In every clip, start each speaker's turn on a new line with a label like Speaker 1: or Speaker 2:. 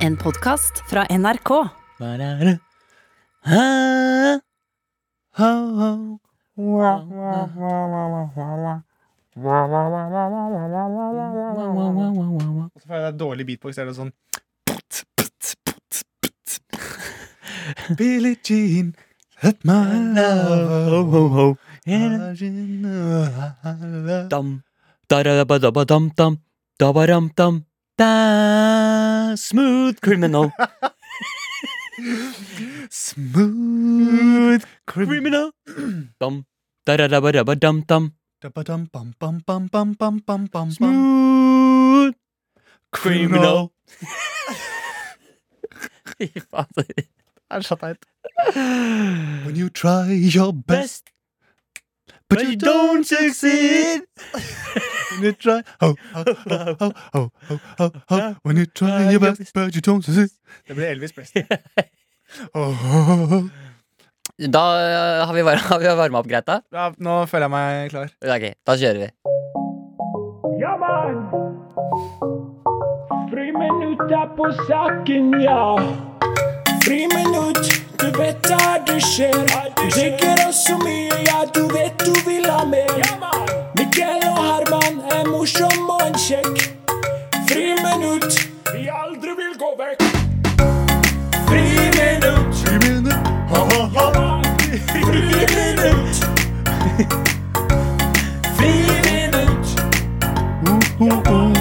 Speaker 1: En podkast fra NRK.
Speaker 2: Og
Speaker 3: Og så får jeg deg dårlig beatbox. Er det sånn
Speaker 2: Billie Jean, let my love Dam, darabadabadam, dam, dabaram, dam, da, smooth criminal. smooth criminal. Dam, darabadabadam, dam, smooth criminal. Fy fader.
Speaker 3: Er det så teit?
Speaker 2: When you try your best, but, you don't succeed. when you try, oh, oh, oh, oh, oh, oh, oh, oh. When you try your best, but you don't succeed.
Speaker 3: Det blir Elvis Presley.
Speaker 2: Oh, oh, oh.
Speaker 4: Da eh, har vi, var- har vi varma opp greit, da?
Speaker 3: Ja, nå føler jeg meg klar.
Speaker 4: Ja, Ok, da kjører vi.
Speaker 5: Ja, mann! Friminutt er på saken, ja. Friminutt, du vet hva det skjer. Du drikker oss så mye, ja, du vet du vil ha mer. Mikkel og Herman er morsom og en kjekk. Friminutt, vi aldri vil gå vekk. Friminutt,
Speaker 2: Three minutes. Ha, ha, ha.
Speaker 5: ja, mann. Friminutt. Friminutt.
Speaker 2: Oh, oh.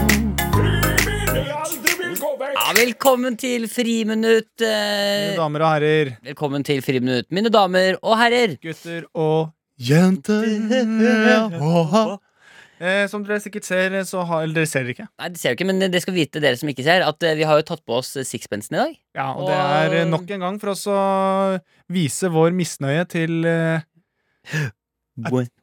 Speaker 4: Ja, velkommen til friminutt. eh,
Speaker 3: Mine damer og herrer,
Speaker 4: Velkommen til friminutt, mine damer og herrer.
Speaker 3: gutter og
Speaker 2: Jenter oh, ha.
Speaker 3: eh, Som dere sikkert ser, så har Eller dere ser det ikke.
Speaker 4: Nei, det ser jo ikke, men det skal vite dere som ikke ser, at eh, vi har jo tatt på oss eh, sixpensen i dag.
Speaker 3: Ja, Og det er eh, nok en gang for oss å vise vår misnøye til eh,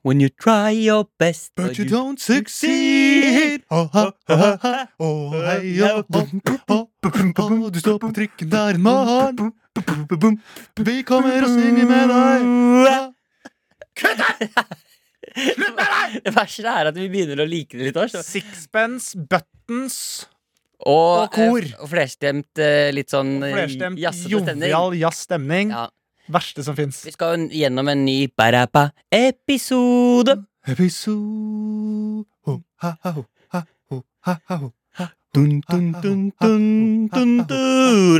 Speaker 4: When, you try your best
Speaker 2: But you don't succeed. Oh, ha, ha, ha, ha. Oh, hei, oh, bom, oh, bom, oh, du står på trikken der en morgen. Vi kommer og synger med deg. Ja.
Speaker 4: Det verste er at vi begynner å like det litt også.
Speaker 3: sixpence, buttons
Speaker 4: Og,
Speaker 3: Og kor.
Speaker 4: eh, Og flerstemt eh, litt sånn eh,
Speaker 3: Flerstemt
Speaker 4: jazzete stemning.
Speaker 3: jovial jazzstemning.
Speaker 4: Ja.
Speaker 3: Verste som fins.
Speaker 4: Vi skal jo gjennom en ny Barapa-episode.
Speaker 2: Episode ho, ha, ha, ho, ha, ho, ha, ha, ho, ha, dun, dun, dun, dun, dun, dun,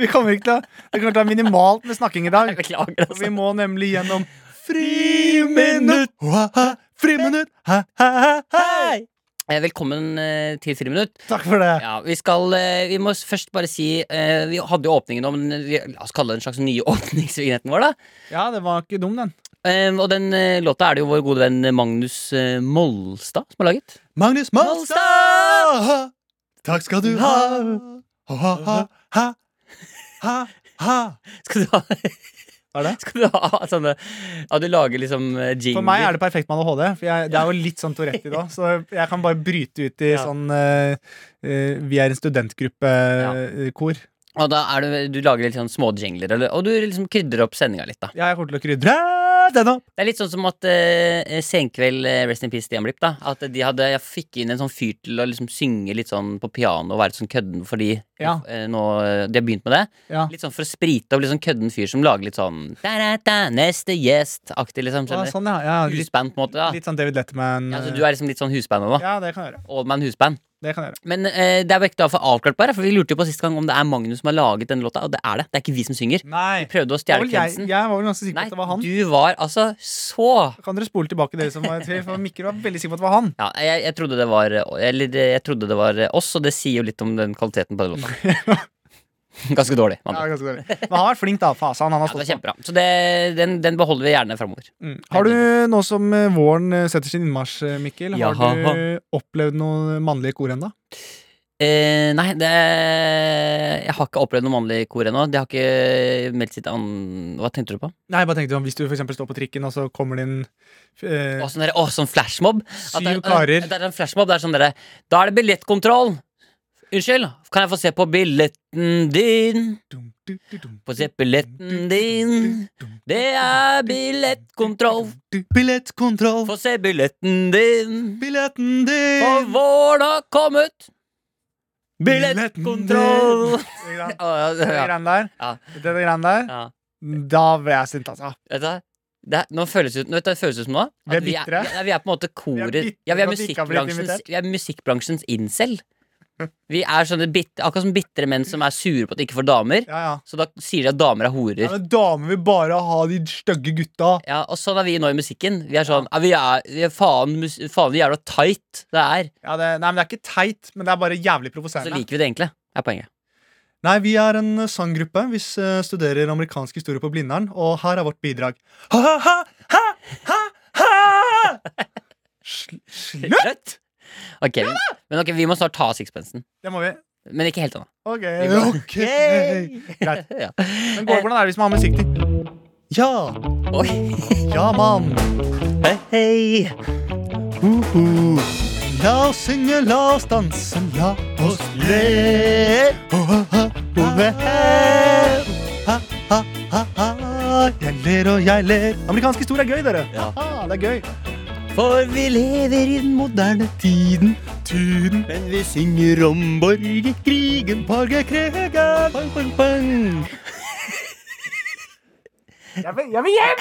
Speaker 3: Vi kommer ikke til å Det kommer til å være minimalt med snakking i dag.
Speaker 4: Beklager,
Speaker 3: For
Speaker 4: altså.
Speaker 3: vi må nemlig gjennom
Speaker 2: Friminutt! Ho, ha, ha, friminutt! Ha, ha, ha, hei!
Speaker 4: Eh, Velkommen eh, til Friminutt.
Speaker 3: Takk for det.
Speaker 4: Ja, vi skal eh, Vi må s- først bare si eh, Vi hadde jo åpningen om den- vi- La oss kalle det en slags nye åpningsvignetten vår, da.
Speaker 3: Ja, det var ikke dum, den.
Speaker 4: Eh, og den eh, låta er det jo vår gode venn Magnus eh, Molstad som har laget.
Speaker 2: Magnus Molstad! Takk skal du ha. Ho, ha, ha, ha, ha, ha.
Speaker 4: Skal du ha,
Speaker 3: Hva er det?
Speaker 4: skal du ha sånne Ja, du lager liksom eh, jingler.
Speaker 3: For meg er det perfekt med ADHD. For jeg, det er jo litt sånn Tourette i dag. Så jeg kan bare bryte ut i
Speaker 4: Ja.
Speaker 3: sånn eh, eh, Vi er en eh, studentgruppe-kor.
Speaker 4: Og da er du, du lager litt sånn småjingler, eller- og du liksom krydrer opp sendinga litt, da.
Speaker 3: Ja, jeg kommer til å krydre den opp.
Speaker 4: Det er litt sånn som at eh, Senkveld, eh, Rest in Peace, Stian Blipp, da. At de hadde, jeg fikk inn en sånn fyr til å liksom synge litt sånn på piano og være litt sånn kødden fordi
Speaker 3: Ja.
Speaker 4: eh, nå, eh, de har begynt med det.
Speaker 3: Ja.
Speaker 4: Litt sånn for å sprite opp litt sånn kødden fyr som lager litt sånn da-da-da, neste gjest-aktig, liksom.
Speaker 3: Ja,
Speaker 4: skjønner du?
Speaker 3: sånn, ja. ja litt,
Speaker 4: Husband, på en måte. da
Speaker 3: litt sånn David Letterman.
Speaker 4: ja, så
Speaker 3: eh,
Speaker 4: Du er liksom litt sånn husband nå, da.
Speaker 3: ja, det kan jeg gjøre.
Speaker 4: Oldman husband.
Speaker 3: Det kan jeg gjøre.
Speaker 4: Men eh, det er viktig å få avklart bare, for vi lurte jo på sist gang om det er Magnus som har laget denne låta, og det er det. Det er ikke vi som synger.
Speaker 3: Nei.
Speaker 4: Vi prøvde å
Speaker 3: Det var
Speaker 4: stjele
Speaker 3: vel Jeg,
Speaker 4: kretsen.
Speaker 3: jeg var vel ganske sikker
Speaker 4: Nei,
Speaker 3: på at det var han.
Speaker 4: du var altså så
Speaker 3: Kan dere spole tilbake, dere som var i tvil? For Mikkel var veldig sikker på at det var han.
Speaker 4: Ja, jeg, jeg, trodde det var, eller, eh, jeg trodde det var eh, oss, og det sier jo litt om den kvaliteten på den låta. Ganske dårlig. Man.
Speaker 3: Ja,
Speaker 4: Ja,
Speaker 3: ganske dårlig. Men han har vært flink, da. Fasan. Han har
Speaker 4: det
Speaker 3: stått
Speaker 4: var kjempebra. Så det, den, den beholder vi gjerne framover.
Speaker 3: Mm. Har du, nå som eh, våren eh, setter sin innmarsj, eh, Mikkel, har
Speaker 4: Jaha.
Speaker 3: du opplevd noen mannlige kor ennå?
Speaker 4: Eh, nei, det, jeg har ikke opplevd noe mannlig kor ennå. Det har ikke meldt sitt an... Hva tenkte du på?
Speaker 3: Nei, jeg bare tenkte om hvis du for eksempel står på trikken, og så kommer det inn eh,
Speaker 4: Å, sånn, derre- å, sånn flashmob. At
Speaker 3: syv
Speaker 4: det, er-
Speaker 3: karer.
Speaker 4: Det er en flashmob, det er sånn derre Da er det billettkontroll! Unnskyld, kan jeg få se på billetten din? Få se billetten din. Det er billettkontroll.
Speaker 6: Billettkontroll.
Speaker 4: Få se billetten din.
Speaker 6: Billetten
Speaker 4: For
Speaker 6: din.
Speaker 4: våren har kommet! Billettkontroll!
Speaker 6: Billettkontroll.
Speaker 2: Det
Speaker 4: Å, ja, det- ja.
Speaker 2: greiene der.
Speaker 4: Ja.
Speaker 2: Det greiene der.
Speaker 4: Ja.
Speaker 2: Da ble jeg sint, altså.
Speaker 4: Vet du hva? det, er- nå føles det ut, nå vet du hva det føles ut som nå?
Speaker 2: Vi er
Speaker 4: At vi,
Speaker 2: bitre.
Speaker 4: ja, vi er på en måte koret
Speaker 2: Vi er bitre
Speaker 4: ja, vi, er
Speaker 2: for at vi ikke har blitt
Speaker 4: musikkbransjens,
Speaker 2: invitert.
Speaker 4: vi er musikkbransjens incel. Vi er sånne bit, akkurat som bitre menn som er sure på at de ikke får damer.
Speaker 2: Ja, ja.
Speaker 4: Så da sier de at damer er
Speaker 2: ja
Speaker 4: horer.
Speaker 2: men damer vil bare ha de stygge gutta.
Speaker 4: Ja, Og sånn er vi nå i musikken. Vi er sånn ja, vi, er, vi er faen mus- faen hvor jævla tight det er.
Speaker 2: Ja, det, nei, men Det er ikke teit, men det er bare jævlig
Speaker 4: Så
Speaker 2: provoserende.
Speaker 4: liker vi det egentlig. er poenget.
Speaker 2: Nei, Vi er en eh, sanggruppe. Vi s- eh, studerer amerikansk historie på Blindern, og her er vårt bidrag. Ha-ha-ha! Ha-ha-ha! Slutt!
Speaker 4: Slutt! Ok, vi, men ok, vi må snart ta av sixpensen.
Speaker 2: Det må vi.
Speaker 4: Men ikke helt ennå.
Speaker 2: OK.
Speaker 4: må-
Speaker 2: ok Greit.
Speaker 4: Ja.
Speaker 2: Men Gård, hvordan er det hvis man har musikk til?
Speaker 6: Ja.
Speaker 4: Oi.
Speaker 6: Ja, mann.
Speaker 4: Hei.
Speaker 6: Uhu. La oss synge, la oss danse, la oss le. Jeg ler og jeg ler.
Speaker 2: Amerikansk historie er gøy, dere.
Speaker 4: Ja.
Speaker 2: Ha-ha, det er gøy.
Speaker 4: For vi lever i den moderne
Speaker 6: Tiden, tiden,
Speaker 4: Men vi synger om
Speaker 6: borgerkrigen, borgerkrigen. Bang, bang, bang.
Speaker 2: Jeg vil, jeg vil hjem!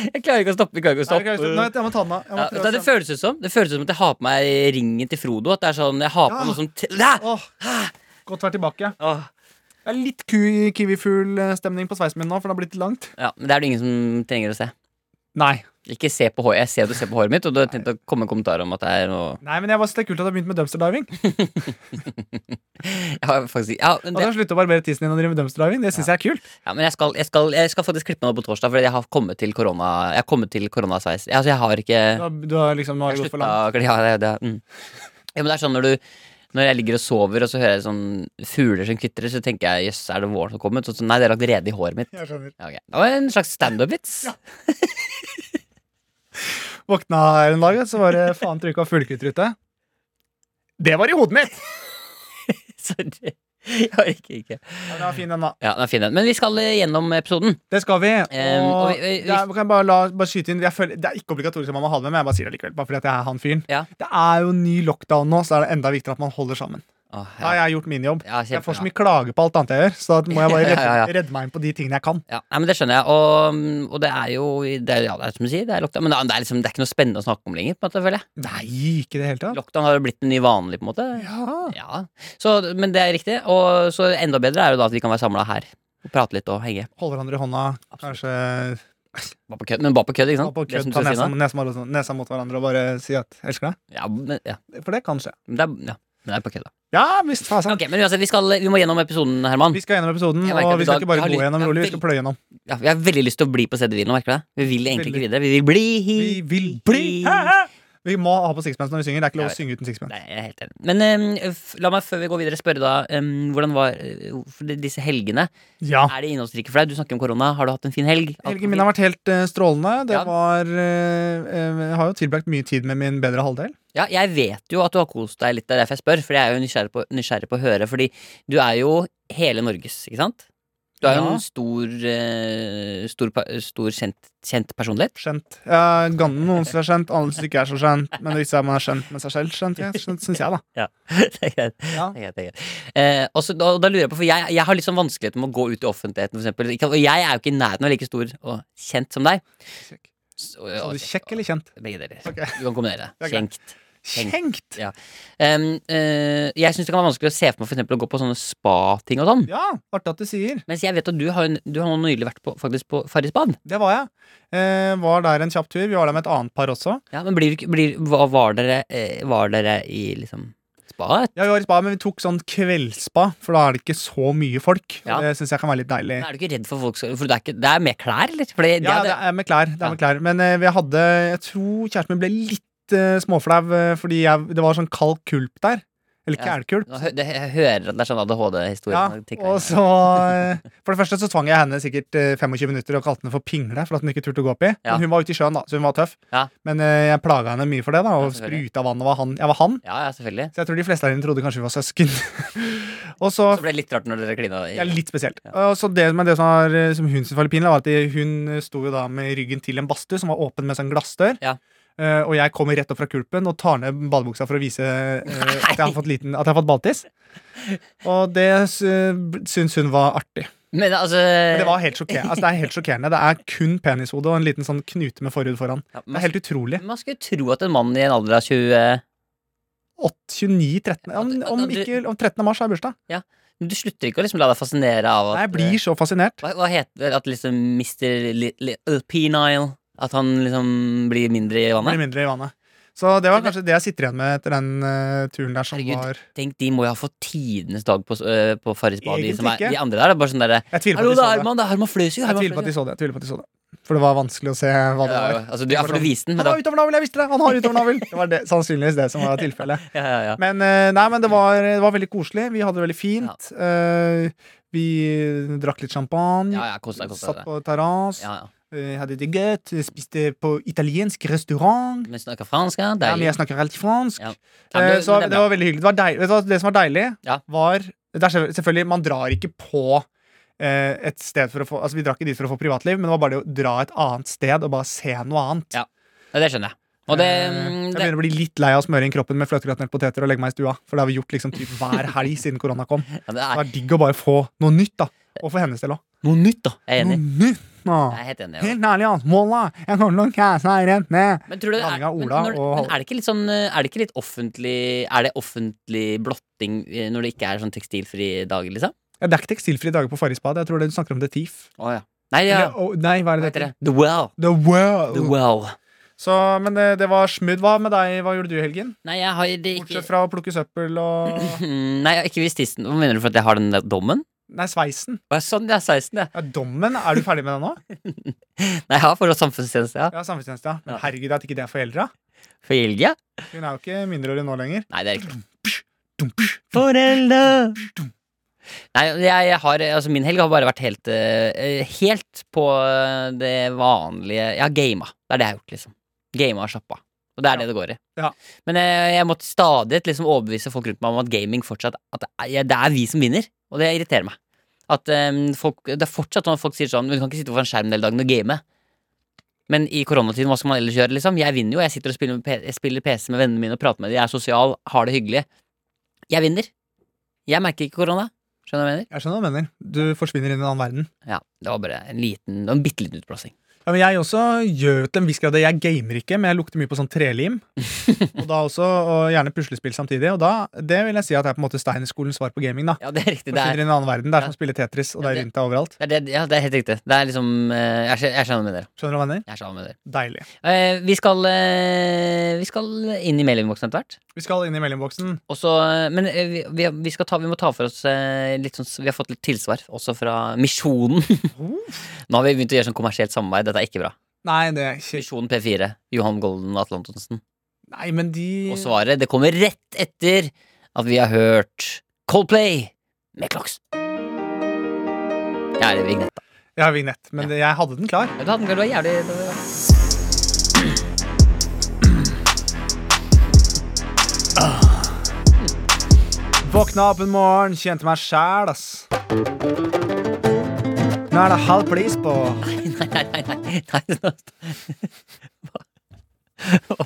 Speaker 4: Jeg klarer ikke å stoppe. Jeg klarer ikke å stoppe.
Speaker 2: Nei, jeg kan- Nei, jeg må ta den av.
Speaker 4: Ja, vet
Speaker 2: Jeg må prøve
Speaker 4: du hva det
Speaker 2: å se.
Speaker 4: føles ut som Det føles ut som at jeg har på meg ringen til Frodo. At det er sånn, jeg har på
Speaker 2: Ja.
Speaker 4: noe som t Læ!
Speaker 2: Åh, Godt å være tilbake.
Speaker 4: Åh.
Speaker 2: Det er litt ku- kiwifugl-stemning på sveisen min nå, for det har blitt litt langt.
Speaker 4: Ja, men det er det ingen som trenger å se.
Speaker 2: Nei.
Speaker 4: Ikke se på håret. Jeg ser at du ser på håret mitt, og du har tenkt å komme med kommentar om at det er noe
Speaker 2: Nei, men jeg bare synes det er kult at jeg har begynt med dumpster diving.
Speaker 4: Jeg har faktisk Ja, men,
Speaker 2: At
Speaker 4: det,
Speaker 2: jeg slutter å barbere tissen din og drive med dumpster diving, det synes jeg er kult.
Speaker 4: ja, men jeg, skal, jeg, skal, jeg skal faktisk klippe meg nå på torsdag, fordi jeg har kommet til korona Jeg har kommet til koronasveis. Jeg- Altså, jeg har ikke
Speaker 2: Du har, du har liksom har
Speaker 4: Jeg
Speaker 2: gått for
Speaker 4: slutta
Speaker 2: langt.
Speaker 4: å kle- ja, det, det, mm. ja, men det er sånn når du Når jeg ligger og sover, og så hører jeg sånn fugler som kvitrer, så tenker jeg jøss, er det våren som kommer? Så, så, nei, det er lagt rede i håret mitt.
Speaker 2: Jeg skjønner.
Speaker 4: Ja, ok. Det var en slags standup-vits.
Speaker 2: Våkna her en dag, så var det faen trykk av fuglekvittrytte. Det var i hodet mitt!
Speaker 4: Sorry. Jeg orker ikke.
Speaker 2: Ja, den var fin, den, da.
Speaker 4: Ja, den er fin, den. Men vi skal eh, gjennom episoden.
Speaker 2: Det skal vi. Og,
Speaker 4: Em, og vi- vi-
Speaker 2: det, er, kan jeg bare, la, bare skyte inn jeg føler, Det er ikke obligatorisk at man må ha det med, men jeg bare sier det likevel. Bare fordi at jeg er han fyren.
Speaker 4: Ja.
Speaker 2: Det er jo ny lockdown nå, så er det enda viktigere at man holder sammen.
Speaker 4: Åh,
Speaker 2: Da har
Speaker 4: ja.
Speaker 2: jeg gjort min jobb.
Speaker 4: Ja,
Speaker 2: Jeg får så
Speaker 4: kjempebra.
Speaker 2: mye klager på alt annet jeg gjør, så da må jeg bare
Speaker 4: Ja,
Speaker 2: redde,
Speaker 4: ja, ja.
Speaker 2: redde meg inn på de tingene jeg kan.
Speaker 4: Ja, nei, men Det skjønner jeg, og, mm, og det er jo det er, ja, det er som du sier, det er lockdown. Men det er, det, er liksom, det er ikke noe spennende å snakke om lenger. på en måte, føler jeg.
Speaker 2: Nei, ikke i det hele tatt.
Speaker 4: Lockdown har jo blitt en ny vanlig, på en måte.
Speaker 2: Ja.
Speaker 4: Ja, så, Men det er riktig, og så enda bedre er jo da at vi kan være samla her og prate litt og henge.
Speaker 2: Holde hverandre i hånda, kanskje
Speaker 4: Bare på kødd, men bare på kødd, ikke
Speaker 2: ta
Speaker 4: sant?
Speaker 2: på
Speaker 4: Det som
Speaker 2: kødd,
Speaker 4: du
Speaker 2: ta
Speaker 4: sier
Speaker 2: nesa,
Speaker 4: nå.
Speaker 2: nesa, mot- nesa mot hverandre og bare si at 'elsker deg'.
Speaker 4: Ja, men, ja.
Speaker 2: For det kan skje.
Speaker 4: Men det er, ja. Men det er på kødd, da.
Speaker 2: Ja visst, fasen.
Speaker 4: Ok, men uansett, vi, skal, vi må gjennom episoden, Herman.
Speaker 2: Vi skal gjennom episoden,
Speaker 4: Jeg merker at
Speaker 2: og
Speaker 4: i
Speaker 2: vi skal
Speaker 4: dag
Speaker 2: ikke bare
Speaker 4: har
Speaker 2: gå
Speaker 4: lyden-
Speaker 2: gjennom
Speaker 4: ja,
Speaker 2: rolig, vi
Speaker 4: vel-
Speaker 2: skal pløye gjennom.
Speaker 4: Ja, vi har veldig lyst til å bli på CD-hvilen, merker du det? Vi vil egentlig ikke
Speaker 2: Veldig.
Speaker 4: videre. Vi vil bli
Speaker 2: Vi vil bli Vi må ha på sixpence når vi synger. Det er ikke lov
Speaker 4: Jeg
Speaker 2: å synge uten sixpence.
Speaker 4: Nei, jeg er helt enig. Men eh, f- la meg før vi går videre spørre, da. eh, hvordan var eh, for de- disse helgene?
Speaker 2: Ja.
Speaker 4: Er det innholdsrike for deg? Du snakker om korona. Har du hatt en fin helg? Alt
Speaker 2: Helgen
Speaker 4: var
Speaker 2: min har vært helt eh, strålende. Det
Speaker 4: Ja.
Speaker 2: var eh, eh, Jeg har jo tilbrakt mye tid med min bedre halvdel.
Speaker 4: Ja, jeg vet jo at du har kost deg litt, det er derfor jeg spør. For jeg er jo nysgjerrig på, nysgjerrig på å høre. Fordi du er jo hele Norges, ikke sant? Du er jo
Speaker 2: Ja.
Speaker 4: en stor, eh, stor, pa- stor kjent, kjent personlighet.
Speaker 2: Skjønt. Ja, gan- noen som er skjønt, andre som ikke er så skjønt. Men hvis man er skjønt med seg selv, skjønt, ja, skjønt syns jeg, da.
Speaker 4: det er greit.
Speaker 2: Ja.
Speaker 4: det er greit, det er greit. Eh, og så- da, da lurer jeg på, for jeg, jeg har litt sånn vanskeligheter med å gå ut i offentligheten, for eksempel. Ikke- Og jeg er jo ikke i nærheten av like stor og kjent som deg.
Speaker 2: Kjekk.
Speaker 4: Så,
Speaker 2: Så
Speaker 4: og-
Speaker 2: du kjekk eller kjent?
Speaker 4: Begge deler.
Speaker 2: Ok.
Speaker 4: Du kan kombinere.
Speaker 2: Det er greit.
Speaker 4: Kjenkt.
Speaker 2: Kjenkt!
Speaker 4: Em, eh, jeg syns det kan være vanskelig å se for meg for eksempel, å gå på sånne spating og sånn.
Speaker 2: Ja, artig at du sier.
Speaker 4: Mens jeg vet at du har, jo n- du har nå nylig vært på, faktisk på Farris bad.
Speaker 2: Det var jeg. Eh, var der en kjapp tur. Vi var der med et annet par også.
Speaker 4: Ja, men blir, du ikke- blir, hva var, dere, eh, var dere i liksom spa?
Speaker 2: Ja, vi var i spa, men vi tok sånn kveldsspa, for da er det ikke så mye folk.
Speaker 4: Ja.
Speaker 2: Det syns jeg kan være litt deilig.
Speaker 4: Men Er du ikke redd for folk som For det er, ikke, det er med klær, eller? For det, det
Speaker 2: Ja,
Speaker 4: hadde-
Speaker 2: det er med klær. Det
Speaker 4: Ja.
Speaker 2: er med klær. Men eh, vi hadde Jeg tror kjæresten min ble litt eh, småflau eh, fordi jeg, det var sånn kald kulp der. Eller
Speaker 4: Ja.
Speaker 2: kælkulp.
Speaker 4: Nå hø- det- Jeg hører at det er sånn ADHD-historie.
Speaker 2: Ja,
Speaker 4: nå tenker jeg.
Speaker 2: og så eh, For det første så tvang jeg henne sikkert eh, 25 minutter og kalte henne for pingle for at hun ikke turte å gå opp i.
Speaker 4: Ja.
Speaker 2: Men hun var ute i sjøen, da, så hun var tøff.
Speaker 4: Ja.
Speaker 2: Men eh, jeg plaga henne mye for det, da, og
Speaker 4: Ja, selvfølgelig.
Speaker 2: spruta vann og var han. Jeg var han.
Speaker 4: ja, ja, selvfølgelig.
Speaker 2: Så jeg tror de fleste av dem trodde kanskje vi var søsken. og så
Speaker 4: Så ble det litt rart når dere klina. i-
Speaker 2: ja, litt spesielt. Og så det, men det som, var, eh, som hun syntes var litt pinlig, var at de- hun eh, sto jo da med ryggen til en badstue som var åpen med sånn glassdør.
Speaker 4: Ja.
Speaker 2: Eh, og jeg kommer rett opp fra kulpen og tar ned badebuksa for å vise eh, at jeg har fått, liten, at jeg har fått balltiss. Og det uh, syns hun var artig.
Speaker 4: Men altså
Speaker 2: Men det var helt sjokkerende. Altså, det er helt sjokkerende. Det er kun penishode og en liten sånn knute med forhud foran.
Speaker 4: ja,
Speaker 2: Det
Speaker 4: man,
Speaker 2: er helt utrolig.
Speaker 4: man skulle tro at en mann i en alder av 20
Speaker 2: 8, 29, 13 om, om, ikke, om 13. mars er bursdag.
Speaker 4: Men Du slutter ikke å liksom la deg fascinere av at
Speaker 2: Nei, Jeg blir så fascinert.
Speaker 4: Hva, hva heter det? At liksom Mr. Li, li, uh, Penile At han liksom blir mindre i
Speaker 2: Blir
Speaker 4: vannet?
Speaker 2: mindre i vannet. Så det var kanskje det jeg sitter igjen med etter den eh, turen der som
Speaker 4: Herregud.
Speaker 2: var
Speaker 4: Tenk, de må jo ha fått tidenes dag på, s- øh, på Farris bad. De,
Speaker 2: Egentlig
Speaker 4: som er-
Speaker 2: ikke.
Speaker 4: de andre der er bare sånn derre
Speaker 2: Jeg tviler på
Speaker 4: Hallo,
Speaker 2: at
Speaker 4: det
Speaker 2: de
Speaker 4: er
Speaker 2: så det.
Speaker 4: Herman, det er Herman Fløysjø!
Speaker 2: Jeg tviler på at de så det. Jeg tviler på at de så det. For det var vanskelig å se hva det
Speaker 4: ja,
Speaker 2: var.
Speaker 4: ja, altså, du, ja, for du viste den, men
Speaker 2: Han
Speaker 4: da
Speaker 2: har utovernavel, jeg visste det! Han har utovernavel! Det var det, sannsynligvis det som var tilfellet.
Speaker 4: ja, ja, ja.
Speaker 2: Men, eh, nei, men det, var, det var veldig koselig. Vi hadde det veldig fint. Eh, vi drakk litt champagne.
Speaker 4: Ja, ja, kos deg, kos deg.
Speaker 2: Satt på terrass.
Speaker 4: Ja, ja.
Speaker 2: eh, hadde det gøy. Spiste på italiensk restaurant.
Speaker 4: Men snakker fransk, ja.
Speaker 2: Ja, men
Speaker 4: Deilig.
Speaker 2: jeg snakker helt fransk.
Speaker 4: Ja. Ja, men
Speaker 2: Eh,
Speaker 4: det-
Speaker 2: Så
Speaker 4: men
Speaker 2: det
Speaker 4: det er bra.
Speaker 2: var veldig hyggelig. Det, var deil- vet du hva, det som var deilig,
Speaker 4: Ja.
Speaker 2: var det er selv- Selvfølgelig, man drar ikke på eh, et sted for å få Altså, vi drakk ikke dit for å få privatliv, men det var bare det å dra et annet sted og bare se noe annet.
Speaker 4: Ja, Ja, det skjønner jeg. Og det,
Speaker 2: Eh,
Speaker 4: mm,
Speaker 2: jeg
Speaker 4: det
Speaker 2: begynner å bli litt lei av å smøre inn kroppen med fløtegratinerte poteter og legge meg i stua. For det har vi gjort liksom typ hver helg siden korona kom. Det
Speaker 4: ja, det er
Speaker 2: var digg å bare få noe nytt, da. Og for hennes del òg.
Speaker 4: noe nytt, da. Jeg er
Speaker 2: Noe
Speaker 4: enig.
Speaker 2: nytt! nå.
Speaker 4: Jeg er helt enig. Ja.
Speaker 2: Helt ærlig, ass. Måla! Jeg kommer til å kaste meg rent ned.
Speaker 4: Men tror du det er,
Speaker 2: Blanding av
Speaker 4: men,
Speaker 2: Ola
Speaker 4: når,
Speaker 2: og
Speaker 4: men
Speaker 2: Halvor.
Speaker 4: er det ikke litt sånn eh, Er det ikke litt offentlig Er det offentlig blotting eh, når det ikke er sånn tekstilfri dag, liksom?
Speaker 2: Ja, Det er ikke tekstilfrie dager på Farrisbadet. Jeg tror det du snakker om det er TIF.
Speaker 4: Å ja. Nei, ja.
Speaker 2: Eller, oh, nei, hva
Speaker 4: Hva
Speaker 2: er Oh. det det
Speaker 4: heter det?
Speaker 2: heter?
Speaker 4: The Well.
Speaker 2: The World.
Speaker 4: The Well.
Speaker 2: Så, men det, det var smooth. Hva med deg? Hva gjorde du i helgen?
Speaker 4: Nei, jeg har det ikke
Speaker 2: Bortsett fra å plukke søppel og
Speaker 4: Mm, Nei, jeg har ikke visst tissen. Hva mener du for at jeg har den der dommen?
Speaker 2: Nei, sveisen.
Speaker 4: Å, ja, Sånn, jeg er 16, jeg.
Speaker 2: Ja, dommen. Er du ferdig med den nå?
Speaker 4: Nei, jeg har fortsatt samfunnstjeneste, ja.
Speaker 2: Ja, samfunnstjeneste. ja. Men
Speaker 4: Ja.
Speaker 2: herregud, at ikke det er foreldra.
Speaker 4: For Helge?
Speaker 2: Hun er jo ikke mindreårig nå lenger.
Speaker 4: Nei, det er ikke
Speaker 2: Dum, psh.
Speaker 4: Foreldre! Nei, jeg, jeg har, altså min helg har bare vært helt eh, Helt på eh, det vanlige Jeg har gama. Det er det jeg har gjort, liksom. Gama og sjappa. Og det er det det går i.
Speaker 2: Ja.
Speaker 4: Men eh, jeg, jeg måtte stadig liksom overbevise folk rundt meg om at gaming fortsatt At det er, det er vi som vinner. Og det irriterer meg. At eh, folk, Det er fortsatt sånn at folk sier sånn Men du kan ikke sitte foran skjermen hele dagen og game. Men i koronatiden, hva skal man ellers gjøre? liksom? Jeg vinner jo. Jeg sitter og spiller, med P- jeg spiller PC med vennene mine og prater med dem. Jeg er sosial, har det hyggelig. Jeg vinner. Jeg merker ikke korona. Skjønner du hva jeg mener?
Speaker 2: Jeg skjønner hva du mener. Du forsvinner inn i en annen verden.
Speaker 4: Ja, det var bare en liten, en bitte liten utblåsing.
Speaker 2: Ja, men Jeg også gjør jo til en viss grad det. Jeg gamer ikke, men jeg lukter mye på sånn trelim. Og da også, og gjerne puslespill samtidig. Og da, det vil jeg si at er på en måte Steinerskolens svar på gaming. da
Speaker 4: Ja, det er riktig. Det er,
Speaker 2: Forsvinner inn i en annen verden. Det er
Speaker 4: Ja.
Speaker 2: som å spille Tetris, og
Speaker 4: Ja,
Speaker 2: det er
Speaker 4: det-
Speaker 2: rundt deg overalt.
Speaker 4: det er, det- ja, det er helt riktig. Det er liksom eh, Jeg skjø- jeg skjønner med dere.
Speaker 2: Skjønner du hva jeg mener?
Speaker 4: Jeg skjønner med dere.
Speaker 2: Deilig.
Speaker 4: Eh, vi, skal, eh, vi skal inn i mailinnboksen etter hvert.
Speaker 2: Vi skal inn i mellomboksen.
Speaker 4: Og så, eh, men eh, vi, vi, vi, skal ta, vi må ta for oss eh, litt sånn s- Vi har fått litt tilsvar også fra Misjonen. Nå har vi begynt å gjøre sånn kommersielt samarbeid. Dette er ikke bra.
Speaker 2: Nei, det er ikke
Speaker 4: Misjonen P4. Johan Golden og Atle Antonsen.
Speaker 2: Nei, men de
Speaker 4: Og svaret det kommer rett etter at vi har hørt Coldplay med Clocks. Jeg er i vignett.
Speaker 2: Jeg har vignett, men det- jeg hadde den klar.
Speaker 4: Ja, Du hadde den klar, du var jævlig du var-
Speaker 2: Våkna opp en morgen, kjente meg sjæl, ass. Nå er det halv pris på
Speaker 4: Nei, nei, nei, nei, nei. nå- Hva?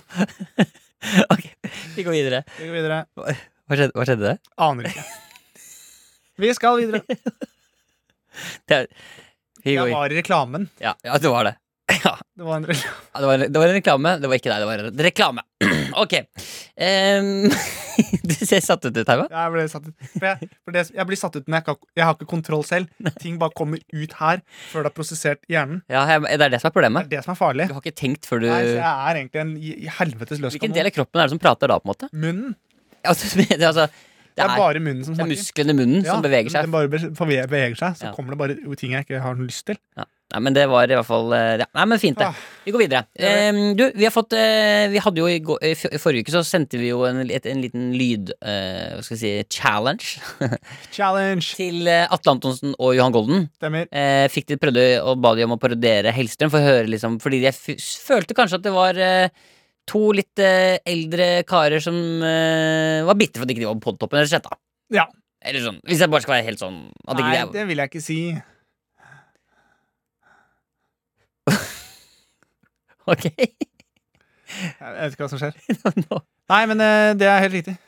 Speaker 4: Ok, vi går videre.
Speaker 2: Vi går videre.
Speaker 4: Hva skjedde, hva skjedde?
Speaker 2: Aner ikke. Vi skal videre.
Speaker 4: Det, vi
Speaker 2: Jeg
Speaker 4: går,
Speaker 2: var i reklamen.
Speaker 4: ja, ja, det var det. Ja,
Speaker 2: Det var en rekl-
Speaker 4: Ja, det var, det var en reklame. Det var ikke deg, det var en reklame. Ok. Em, du ser satt ut ut, Herman.
Speaker 2: jeg ble satt ut. For jeg, for det, jeg blir satt ut når jeg, ikke har- jeg har ikke kontroll selv. Ting bare kommer ut her før det er prosessert i hjernen.
Speaker 4: Ja, jeg- det er det som er
Speaker 2: Det er
Speaker 4: problemet.
Speaker 2: det som er farlig.
Speaker 4: Du har ikke tenkt før
Speaker 2: Nei, så jeg
Speaker 4: du
Speaker 2: er egentlig en i- i helvetes løs
Speaker 4: Hvilken del av kroppen er det som prater da, på en måte?
Speaker 2: Munnen.
Speaker 4: Altså, det, altså, det
Speaker 2: Det er
Speaker 4: er,
Speaker 2: bare munnen som
Speaker 4: det er
Speaker 2: snakker.
Speaker 4: musklene i munnen som
Speaker 2: Ja,
Speaker 4: beveger seg.
Speaker 2: Den bare be- beveger seg, så
Speaker 4: Ja.
Speaker 2: kommer det bare ting jeg ikke har noe lyst til.
Speaker 4: Ja. Nei, men det var i hvert fall eh, ja. Nei, men fint, det.
Speaker 2: Ah.
Speaker 4: Vi går videre. Ehm, du, vi har fått eh, Vi hadde jo i, går, i f- i forrige uke så sendte vi jo en, et, en liten lyd... eh, hva skal vi si challenge
Speaker 2: Challenge!
Speaker 4: til eh, Atle Antonsen og Johan Golden.
Speaker 2: Stemmer.
Speaker 4: Eh, fikk de prøvde og ba de om å parodiere Hellstrøm, for å høre liksom Fordi jeg f følte kanskje at det var eh, to litt eh, eldre karer som eh, var bitre for at ikke de var på podtoppen, rett og slett. da.
Speaker 2: Ja.
Speaker 4: Eller sånn, Hvis jeg bare skal være helt sånn at ikke
Speaker 2: Nei,
Speaker 4: de er-
Speaker 2: det vil jeg ikke si.
Speaker 4: Ok,
Speaker 2: Jeg vet ikke hva som skjer.
Speaker 4: nå-
Speaker 2: Nei, men eh, det er helt riktig.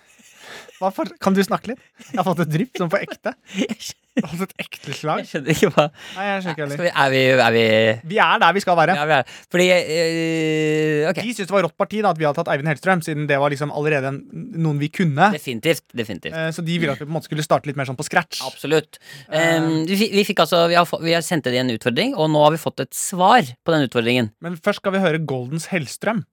Speaker 2: Hva for, kan du snakke litt? Jeg har fått et drypp, sånn på ekte. Jeg har fått et ekte slag.
Speaker 4: Jeg skjønner ikke hva
Speaker 2: Nei, jeg skjønner ikke
Speaker 4: Skal
Speaker 2: heller.
Speaker 4: vi, Er vi, er vi
Speaker 2: Vi er der vi skal være.
Speaker 4: ja, vi er Fordi eh, Ok,
Speaker 2: De syntes det var rått parti da at vi hadde tatt Eivind Hellstrøm, siden det var liksom allerede en, noen vi kunne.
Speaker 4: definitivt. Definitivt.
Speaker 2: Eh, Så de ville at vi på en måte skulle starte litt mer sånn på scratch.
Speaker 4: Absolutt. Em, vi, fikk- vi fikk altså Vi har, få- vi har sendt dem en utfordring, og nå har vi fått et svar på den utfordringen.
Speaker 2: Men først skal vi høre Goldens Hellstrøm.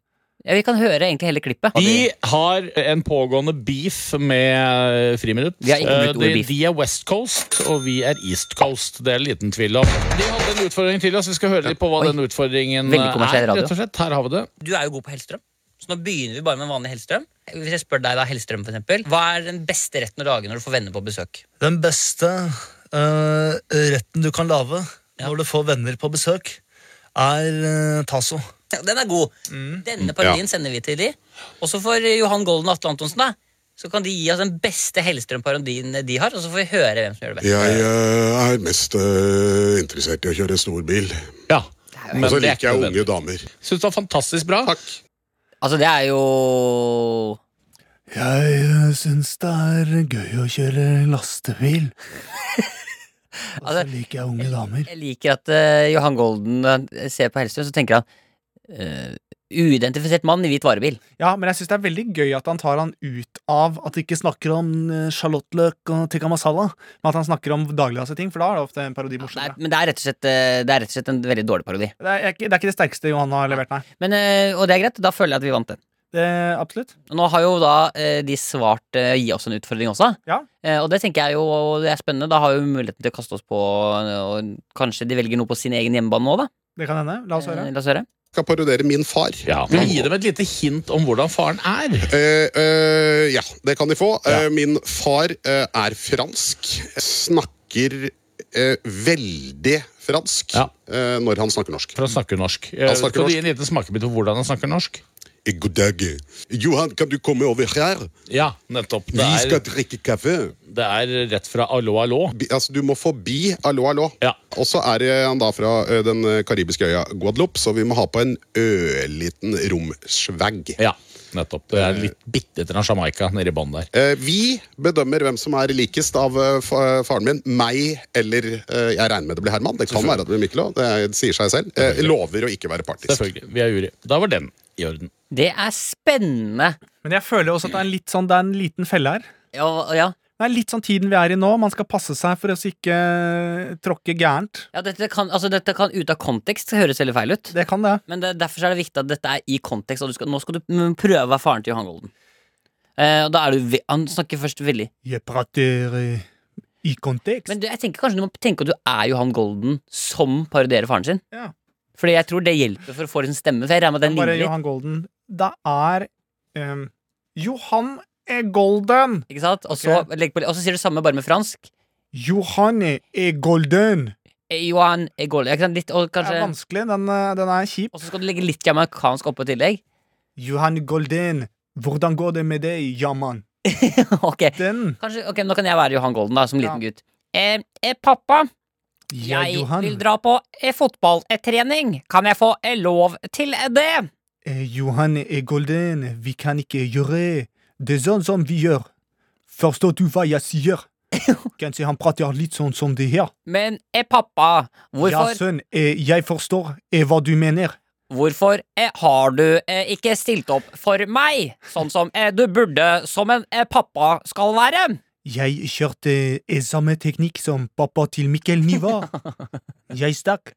Speaker 4: Ja, vi kan høre egentlig hele klippet.
Speaker 7: De har en pågående beef med eh, Friminutt.
Speaker 4: Vi har ikke brukt
Speaker 7: Eh,
Speaker 4: ordet
Speaker 7: de,
Speaker 4: beef.
Speaker 7: de er West Coast, og vi er East Coast. Det er det liten tvil om. De hadde en utfordring til oss. Vi skal høre litt på hva
Speaker 4: Oi.
Speaker 7: den utfordringen
Speaker 4: Veldig
Speaker 7: eh,
Speaker 4: kommersiell
Speaker 7: er.
Speaker 4: radio.
Speaker 7: rett og slett. Her har vi det.
Speaker 4: Du er jo god på Hellstrøm, så nå begynner vi bare med en vanlig Hellstrøm. Hvis jeg spør deg da, Hellstrøm for eksempel, hva er den beste retten å lage når du får venner på besøk?
Speaker 8: Den beste eh, retten du kan lage når du får venner på besøk, er eh, tasso.
Speaker 4: Ja, Den er god. Denne parodien sender vi til de. Og så får Johan Golden og Atle Antonsen, da. Så kan de gi oss den beste Hellstrøm-parodien de har, og så får vi høre hvem som gjør det best.
Speaker 9: Jeg eh, er mest eh, interessert i å kjøre stor bil.
Speaker 7: Ja.
Speaker 9: Og
Speaker 7: det
Speaker 9: så
Speaker 7: er
Speaker 9: liker jeg
Speaker 7: ikke
Speaker 9: unge
Speaker 7: nødvendig.
Speaker 9: damer.
Speaker 7: Syns det var fantastisk bra.
Speaker 9: Takk.
Speaker 4: Altså, det er jo
Speaker 6: Jeg eh, syns det er gøy å kjøre lastebil. Og så
Speaker 4: Altså-
Speaker 6: liker jeg unge damer.
Speaker 4: Jeg liker at eh, Johan Golden eh, ser på Hellstrøm, så tenker han eh, Uidentifisert mann i hvit varebil.
Speaker 2: Ja, men jeg syns det er veldig gøy at han tar han ut av at de ikke snakker om eh, sjalottløk og tikka masala, men at han snakker om dagligdagse ting, for da er det ofte en parodi
Speaker 4: Nei,
Speaker 2: morsommere.
Speaker 4: men det er rett og slett, eh, det er rett og slett en veldig dårlig parodi.
Speaker 2: Det er, ikke- det er ikke det sterkeste Johan har levert, nei.
Speaker 4: Men, eh, og det er greit, da føler jeg at vi vant den.
Speaker 2: Det, absolutt.
Speaker 4: Og Nå har jo da eh, de svart eh, gi oss en utfordring også.
Speaker 2: Ja.
Speaker 4: Eh, og det tenker jeg jo og det er spennende. Da har vi jo muligheten til å kaste oss på eh, og kanskje de velger noe på sin egen hjemmebane nå, da.
Speaker 2: Det kan hende. La oss høre.
Speaker 4: Eh, La oss høre.
Speaker 9: Skal parodiere min far.
Speaker 7: Ja, men Gi dem et lite hint om hvordan faren er.
Speaker 9: Eh, eh, ja, det kan de få.
Speaker 7: Ja.
Speaker 9: Eh, min far eh, er fransk. Snakker eh, veldig fransk
Speaker 7: Ja.
Speaker 9: eh, når han snakker norsk.
Speaker 7: For han snakker norsk.
Speaker 9: Han
Speaker 7: Han
Speaker 9: snakker
Speaker 7: Skal du gi en liten smakebit på hvordan han snakker norsk?
Speaker 9: Eh, God dag. Johan, kan du komme over her?
Speaker 7: Ja, nettopp. Det
Speaker 9: Vi skal
Speaker 7: er,
Speaker 9: drikke kaffe.
Speaker 7: det er rett fra allo, allo.
Speaker 9: Bi- Altså, du må forbi Allo Allo.
Speaker 7: Ja.
Speaker 9: Og så er det han da fra eh, den eh, karibiske øya Guadeloupe, så vi må ha på en ørliten romsvagg.
Speaker 7: Ja, nettopp. Det er litt bitte litt av Jamaica nedi bånn der.
Speaker 9: Eh, Vi bedømmer hvem som er likest av eh, fa- faren min. Meg eller eh, Jeg regner med det blir Herman. Det kan være at det blir Mikkel også, Det sier seg selv. Eh, Lover å ikke være partisk.
Speaker 7: Selvfølgelig. Vi er jury. Da var den i orden.
Speaker 4: Det er spennende.
Speaker 2: Men jeg føler også at det er en, litt sånn, det er en liten felle her.
Speaker 4: Ja, og- ja.
Speaker 2: Det er litt sånn tiden vi er i nå. Man skal passe seg for å så ikke eh, tråkke gærent.
Speaker 4: ja dette, kan, altså, dette kan ut av kontekst høres veldig feil ut.
Speaker 2: Det kan det.
Speaker 4: Men det, derfor så er det viktig at dette er i kontekst, og du skal, nå skal du mm, prøve å være faren til Johan Golden. Eh, og da er du ve Han snakker først veldig
Speaker 2: Jeg prater eh, i kontekst.
Speaker 4: Men du, jeg tenker kanskje du må tenke at du er Johan Golden som parodierer faren sin.
Speaker 2: Ja.
Speaker 4: Fordi jeg tror det hjelper for å få sin stemme. For jeg regner med at den
Speaker 2: Bare
Speaker 4: ligner litt.
Speaker 2: Johan Golden. Det er eh, Johan E. Golden!
Speaker 4: Ikke sant? Og, så, legg på, og så sier du samme bare med fransk.
Speaker 2: Johanne E. Golden!
Speaker 4: Eh, Johan eh, Golden. Ikke sant? Litt, og
Speaker 2: Det er
Speaker 4: kanskje
Speaker 2: vanskelig. Den, eh, den er kjip.
Speaker 4: Og så skal du legge litt jamaicansk oppå i tillegg.
Speaker 2: Johan Golden, hvordan går det med deg, jamman?
Speaker 4: ok,
Speaker 2: Den.
Speaker 4: kanskje, ok, Nå kan jeg være Johan Golden, da, som liten
Speaker 2: Ja.
Speaker 4: gutt. Eh, eh, pappa,
Speaker 2: Ja,
Speaker 4: jeg
Speaker 2: Johan.
Speaker 4: vil dra på eh, fotballtrening. Kan jeg få eh, lov til det?
Speaker 2: Eh, Johan E. Golden, vi kan ikke gjøre det sånn som vi gjør. Forstår du hva jeg sier? Kanskje han prater litt sånn som det her.
Speaker 4: Men eh, pappa,
Speaker 2: Ja,
Speaker 4: hvorfor,
Speaker 2: sønn, eh, jeg forstår eh, hva du mener.
Speaker 4: hvorfor eh, har du eh, ikke stilt opp for meg, sånn som eh, du burde, som en eh, pappa skal være?
Speaker 2: Jeg kjørte eh, samme teknikk som pappa til Mikkel Niva. Jeg stakk.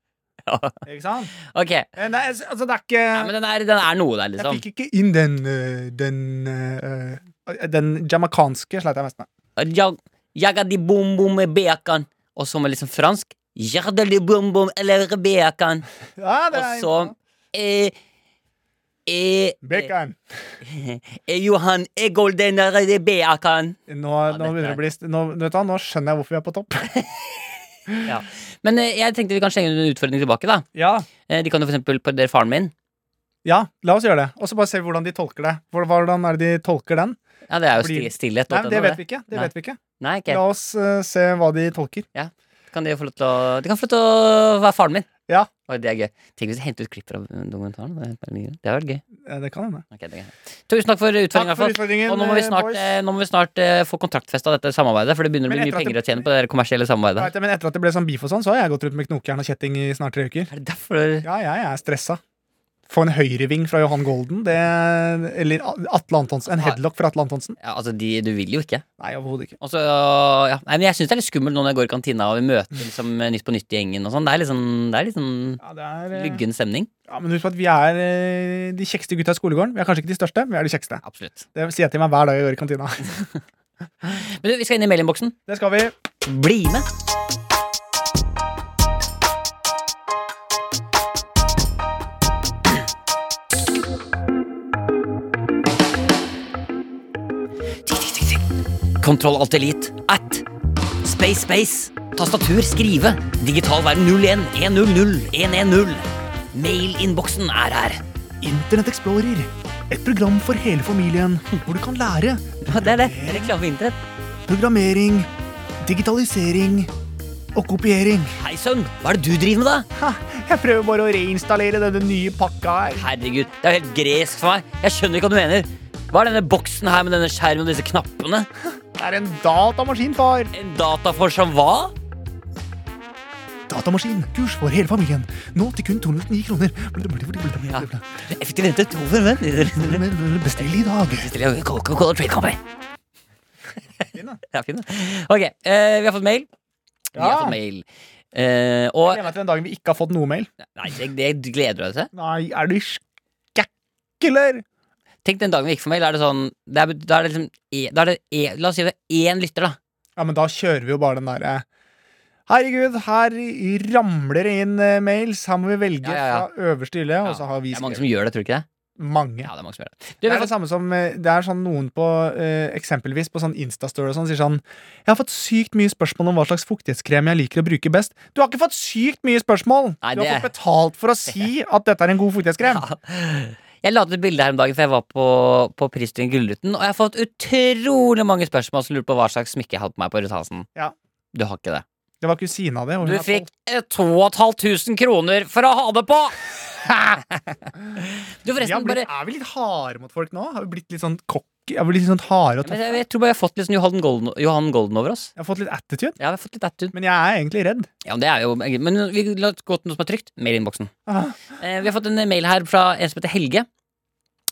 Speaker 2: Ikke sant?
Speaker 4: Ok, ja,
Speaker 2: Eh, Nei, altså, det er ikke
Speaker 4: men den er, den er noe der, liksom.
Speaker 2: Jeg fikk ikke inn den eh, den eh, eh, den jamaicanske sleit jeg mest med.
Speaker 4: Jag, jagadi bom bom med bacon. Og så med liksom fransk. Jardali bom bom eller Bekan.
Speaker 2: Ja, det
Speaker 4: Og
Speaker 2: er
Speaker 4: så eh, eh,
Speaker 2: Bacon.
Speaker 4: eh, Johan Egoldener Bekan.
Speaker 2: Nå, nå
Speaker 4: dette
Speaker 2: begynner det
Speaker 4: er-
Speaker 2: å bli st- nå, vet du, hva, nå skjønner jeg hvorfor vi er på topp.
Speaker 4: Ja. Men eh, jeg tenkte vi kan slenge en utfordring tilbake. da
Speaker 2: Ja,
Speaker 4: Eh, De kan jo for eksempel parodiere faren min.
Speaker 2: ja la oss gjøre det. Og så bare se hvordan de tolker det. Hvor- Hvordan er det de tolker den?
Speaker 4: Ja, det er jo
Speaker 2: Blir-
Speaker 4: sti- stillhet.
Speaker 2: Nei,
Speaker 4: og
Speaker 2: men
Speaker 4: den
Speaker 2: Det
Speaker 4: og
Speaker 2: vet vi ikke. Det
Speaker 4: Nei.
Speaker 2: vet vi ikke.
Speaker 4: Nei, ikke.
Speaker 2: La oss eh, se hva de tolker.
Speaker 4: Kan de, få lov til å, de kan få lov til å være faren min.
Speaker 2: Ja.
Speaker 4: Oi, det er gøy. Tenk hvis de henter ut klipper av dokumentaren. Det er veldig gøy. Det hadde vært gøy.
Speaker 2: Ja, eh, det kan hende.
Speaker 4: Ok, det er gøy. Tusen takk for utfordringen. i
Speaker 2: Takk
Speaker 4: hvert fall.
Speaker 2: for utfordringen.
Speaker 4: Og nå må vi
Speaker 2: eh,
Speaker 4: snart,
Speaker 2: boys.
Speaker 4: eh, nå må vi snart eh, få kontraktfesta dette samarbeidet, for det begynner å
Speaker 2: Men
Speaker 4: bli mye
Speaker 2: etter at
Speaker 4: penger å
Speaker 2: det-
Speaker 4: tjene på det der kommersielle
Speaker 2: Jeg
Speaker 4: samarbeidet.
Speaker 2: vet det, men etter at det ble sånn beef og sånn, så har jeg gått rundt med knokjern og kjetting i snart tre uker.
Speaker 4: Er det derfor
Speaker 2: Ja, jeg er stressa. Få en høyreving fra Johan Golden, det Eller Atle Antonsen. En headlock fra Atle Antonsen.
Speaker 4: ja, altså, de, Du vil jo ikke.
Speaker 2: Nei, overhodet ikke.
Speaker 4: Og så, ja. Nei, men Jeg syns det er litt skummelt nå når jeg går i kantina og vi møter liksom, Nytt på nytt-gjengen. og sånn Det er litt sånn, det er litt sånn
Speaker 2: Ja, det er, eh,
Speaker 4: luggen stemning.
Speaker 2: ja, men husk på at vi er eh, de kjekkeste gutta i skolegården. Vi er kanskje ikke de største, men vi er de kjekkeste.
Speaker 4: Absolutt.
Speaker 2: Det sier jeg til meg hver dag jeg gjør i kantina.
Speaker 4: Men du, vi skal inn i mailinnboksen.
Speaker 2: Det skal vi.
Speaker 4: Bli med! Kontroll alt elite at space space tastatur skrive digital verden 01 100 110 mailinnboksen er her.
Speaker 2: Internett Explorer. Et program for hele familien, hvor du kan lære
Speaker 4: Ja, Det er det. Reklame for internett.
Speaker 2: programmering, digitalisering og kopiering.
Speaker 4: Hei, sønn. Hva er det du driver med, da?
Speaker 2: Ha, jeg prøver bare å reinstallere denne nye pakka her.
Speaker 4: Herregud, det er jo helt gresk for meg. Jeg skjønner ikke hva du mener. Hva er denne boksen her med denne skjermen og disse knappene?
Speaker 2: Det er en datamaskin, far.
Speaker 4: En data for som hva?
Speaker 2: Datamaskin, kurs for hele familien. Nå til kun 209 kroner.
Speaker 4: Ja. Effektiv rente, to for menn.
Speaker 2: Bestill i dag.
Speaker 4: Stiller jeg Coca-Cola Trade Company. Ja, fin, da. Ok, eh, vi har fått mail. Vi har
Speaker 2: Ja.
Speaker 4: fått mail. Eh, og
Speaker 2: Jeg meg til den dagen vi ikke har fått noe mail.
Speaker 4: Nei, det, det gleder du deg til.
Speaker 2: Nei, er du skækk, eller?
Speaker 4: Tenk den dagen vi ikke får mail, er det sånn det er, Da er det liksom e- da er det e, La oss si det er én lytter, da.
Speaker 2: Ja, men da kjører vi jo bare den derre Herregud, her ramler det inn eh, mails. Her må vi velge
Speaker 4: Ja, ja, ja.
Speaker 2: fra øverste hylle, og så har vi
Speaker 4: det er mange
Speaker 2: skrevet
Speaker 4: som gjør det, tror du ikke det?
Speaker 2: mange.
Speaker 4: Ja, det er mange som gjør det. Du,
Speaker 2: Det
Speaker 4: vi
Speaker 2: er
Speaker 4: har
Speaker 2: det samme som eh, Det er sånn noen på eh, eksempelvis på sånn Instastory og sånn sier sånn 'Jeg har fått sykt mye spørsmål om hva slags fuktighetskrem jeg liker å bruke best'. Du har ikke fått sykt mye spørsmål!
Speaker 4: Nei,
Speaker 2: du
Speaker 4: det-
Speaker 2: har fått betalt for å si at dette er en god fuktighetskrem.
Speaker 4: Jeg la ut et bilde her om dagen, for jeg var på, på prisstuen Gullruten, og jeg har fått utrolig mange spørsmål som lurer på hva slags smykke jeg har på meg på Ruth Hansen.
Speaker 2: Ja.
Speaker 4: Du har ikke det.
Speaker 2: Det var kusina di. og hun
Speaker 4: Du
Speaker 2: er
Speaker 4: fikk eh, 2500 kroner for å ha det på! du,
Speaker 2: tolv. Vi har
Speaker 4: forresten,
Speaker 2: blitt,
Speaker 4: bare
Speaker 2: er vi litt harde mot folk nå? Har vi blitt litt sånn cocky? Har vi blitt litt sånn harde og
Speaker 4: men
Speaker 2: tøffe?
Speaker 4: jeg, jeg tror bare jeg har fått litt sånn Johan Golden, Johan Golden over oss.
Speaker 2: Jeg har fått litt attitude,
Speaker 4: Ja, jeg har fått litt attitude.
Speaker 2: men jeg er egentlig redd.
Speaker 4: Ja, men det er jo Men vi la oss gå til noe som er trygt. Mailinnboksen.
Speaker 2: Ah.
Speaker 4: Eh, vi har fått en mail her fra en som heter Helge,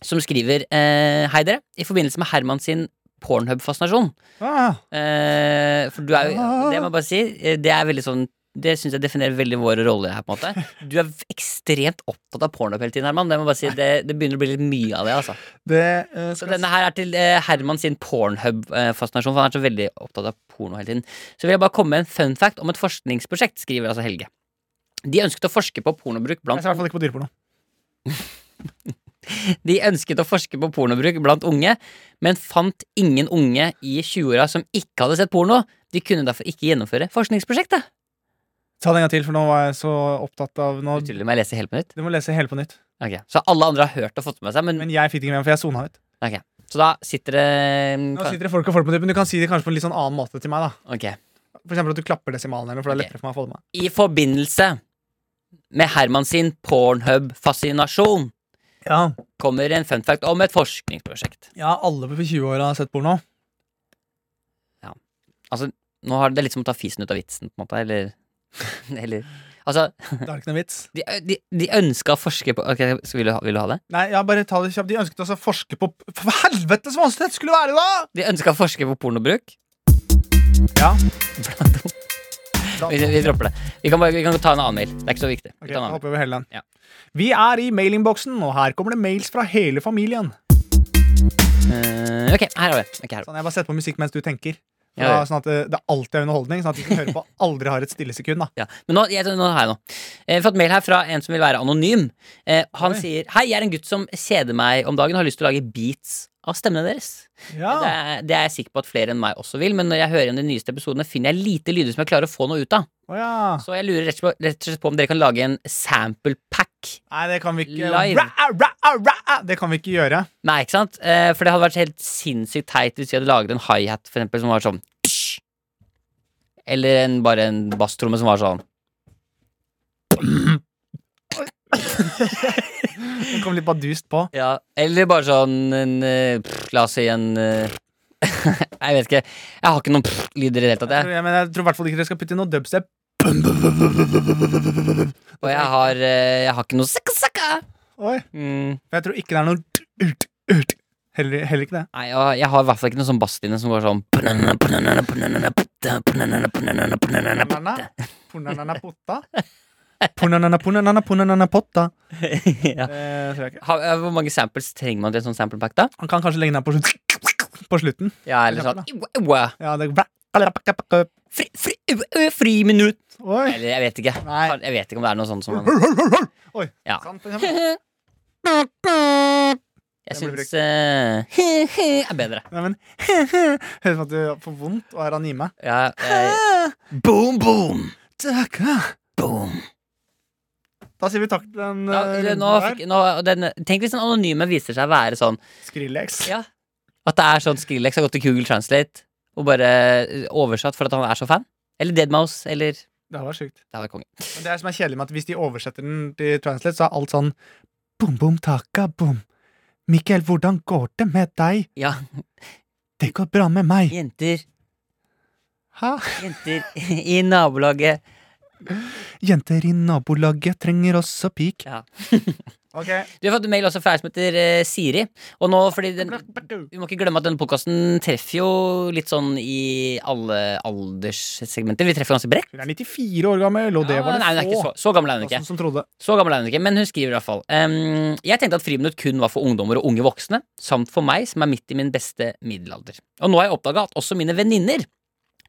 Speaker 4: som skriver eh, Hei, dere. I forbindelse med Herman sin Pornhub-fascinasjon
Speaker 2: Ah,
Speaker 4: Eh, for du er jo
Speaker 2: Ah.
Speaker 4: Det må jeg bare si. eh, Det er veldig sånn det syns jeg definerer veldig våre roller her. på en måte Du er ekstremt opptatt av porno hele tiden, Herman. Det må jeg bare si Det, det begynner å bli litt mye av det. altså
Speaker 2: det eh,
Speaker 4: Så
Speaker 2: skal jeg
Speaker 4: denne her er til eh, Herman sin pornhub-fascinasjon, for han er så veldig opptatt av porno hele tiden. Så vil jeg bare komme med en fun fact om et forskningsprosjekt, skriver altså Helge. De ønsket å forske på pornobruk
Speaker 2: Jeg
Speaker 4: blant
Speaker 2: ser i hvert fall ikke på dyreporno.
Speaker 4: De ønsket å forske på pornobruk blant unge, men fant ingen unge i 20-åra som ikke hadde sett porno. De kunne derfor ikke gjennomføre forskningsprosjektet.
Speaker 2: Ta det en gang til, for nå var jeg så opptatt av nå,
Speaker 4: Utrolig, må jeg lese helt på nytt?
Speaker 2: Du må lese hele på nytt.
Speaker 4: Ok, Så alle andre har hørt og fått med seg, men,
Speaker 2: Men jeg fikk det ikke med meg, for jeg sona ut.
Speaker 4: ok. Så da sitter det mm,
Speaker 2: Nå sitter det folk og folk på det, men du kan si det kanskje på en litt sånn annen måte til meg. da
Speaker 4: Ok.
Speaker 2: For eksempel at du klapper desimalen, eller noe, for det er
Speaker 4: Ok.
Speaker 2: lettere for meg å få det med.
Speaker 4: I forbindelse med Herman sin Pornhub-fascinasjon
Speaker 2: Ja,
Speaker 4: kommer en fun fact om et forskningsprosjekt.
Speaker 2: ja alle på 20-åra har sett porno.
Speaker 4: Altså, nå har det litt som å ta fisen ut av vitsen, på en måte, eller Eller Altså,
Speaker 2: Det er ikke noe vits.
Speaker 4: de, de, de ønska å forske på Ok, så vil, du ha, vil du ha det?
Speaker 2: Nei, ja, bare ta det kjapt. De ønsket oss å forske på For helvete, så vanskelig det skulle være, da!
Speaker 4: De ønska å forske på pornobruk.
Speaker 2: Ja.
Speaker 4: Blant annet. Vi, vi dropper det. Vi kan, bare, vi kan ta en annen mail. Det er ikke så viktig. Vi tar en
Speaker 2: Ok, da
Speaker 4: annen mail.
Speaker 2: hopper vi over hele den.
Speaker 4: Ja.
Speaker 2: Vi er i mailingboksen, og her kommer det mails fra hele familien.
Speaker 4: Eh, ok, her har vi det. Ok, her har vi det.
Speaker 2: Sånn, Jeg bare setter på musikk mens du tenker. For
Speaker 4: Ja, ja.
Speaker 2: da, sånn at det, det alltid er underholdning, sånn at de som hører på, aldri har et stille sekund. da
Speaker 4: Ja. Men nå, jeg, nå har jeg noe. Jeg har fått mail her fra en som vil være anonym. Eh, han
Speaker 2: Oi.
Speaker 4: sier Hei, jeg er en gutt som kjeder meg om dagen og har lyst til å lage beats av stemmene deres. Det,
Speaker 2: Ja,
Speaker 4: er, det er jeg sikker på at flere enn meg også vil, men når jeg hører igjen de nyeste episodene, finner jeg lite lyder som jeg klarer å få noe ut av.
Speaker 2: Å ja.
Speaker 4: Så jeg lurer rett og slett på, rett og slett på om dere kan lage en sample pack.
Speaker 2: Nei, det kan vi ikke
Speaker 4: Live.
Speaker 2: Ra, ra, ra, Det kan vi ikke gjøre.
Speaker 4: Nei, ikke sant? Eh, for det hadde vært helt sinnssykt teit hvis vi hadde laget en high-hat for eksempel, som var sånn psh. Eller en, bare en basstromme som var sånn
Speaker 2: Det kom litt bardust på.
Speaker 4: Ja, eller bare sånn en, eh, pff, La oss si en eh, Jeg vet ikke. Jeg har ikke noen pff, lyder i det hele tatt.
Speaker 2: Jeg
Speaker 4: Jeg.
Speaker 2: tror, men jeg tror i hvert fall ikke dere skal putte inn noe dubstep.
Speaker 4: Og jeg har, eh, jeg har ikke noe sakka, sakka.
Speaker 2: Oi.
Speaker 4: Mm,
Speaker 2: For jeg tror ikke det er noe t- ut, ut. Heller, heller ikke det.
Speaker 4: Nei, og jeg har i hvert fall ikke noe sånn basslinje som går sånn
Speaker 2: Pornanana, pornanana potta. Pornanana, pornanana, pornanana potta.
Speaker 4: ja.
Speaker 2: Eh, tror jeg ikke.
Speaker 4: Har- eh, Hvor mange samples trenger man til en sånn sample pack, da?
Speaker 2: Han kan kanskje legge den her på, slutt- på slutten.
Speaker 4: Ja, eller sånn iwa, iwa,
Speaker 2: Ja, det Oi.
Speaker 4: Fri, fri, iwa, iwa, friminutt. Eller jeg vet ikke.
Speaker 2: Nei.
Speaker 4: Jeg vet ikke om det er noe sånt som
Speaker 2: Oi.
Speaker 4: Ja.
Speaker 2: sant, for eksempel.
Speaker 4: Jeg
Speaker 2: Den blir
Speaker 4: syns eh, er bedre.
Speaker 2: Nei, men Høres ut som at du får vondt og er anime.
Speaker 4: Ja, jeg, boom, boom! Boom.
Speaker 2: Da sier vi takk til den
Speaker 4: Ja,
Speaker 2: eh,
Speaker 4: det-
Speaker 2: runden
Speaker 4: nå
Speaker 2: her.
Speaker 4: fikk, nå, den, tenk hvis den anonyme viser seg å være sånn
Speaker 2: Skrillex.
Speaker 4: ja, At det er sånn Skrillex har gått til Google Translate og bare eh, oversatt for at han er så fan. Eller Deadmouse, eller Det
Speaker 2: Det hadde vært sjukt.
Speaker 4: hadde vært konge.
Speaker 2: Men det er som er kjedelig med at hvis de oversetter den til translate, så er alt sånn Bom, bom, taka, bom. Mikkel, hvordan går det med deg?
Speaker 4: Ja,
Speaker 2: Det går bra med meg.
Speaker 4: jenter,
Speaker 2: Hæ?
Speaker 4: jenter i nabolaget.
Speaker 2: Jenter i nabolaget trenger også pik.
Speaker 4: Ja.
Speaker 2: ok.
Speaker 4: Du har fått mail også fra ei som heter eh, Siri. Og nå, fordi den, vi må ikke glemme at denne podkasten treffer jo litt sånn i alle alderssegmenter. Vi treffer ganske bredt.
Speaker 2: Hun er 94 år gammel, og det var det
Speaker 4: nei, hun er ikke så, så gammel er hun ikke.
Speaker 2: Som trodde.
Speaker 4: Så gammel er hun ikke, men hun skriver i hvert fall ehm, Jeg tenkte at friminutt kun var for ungdommer og unge voksne, samt for meg som er midt i min beste middelalder. Og nå har jeg oppdaga at også mine venninner,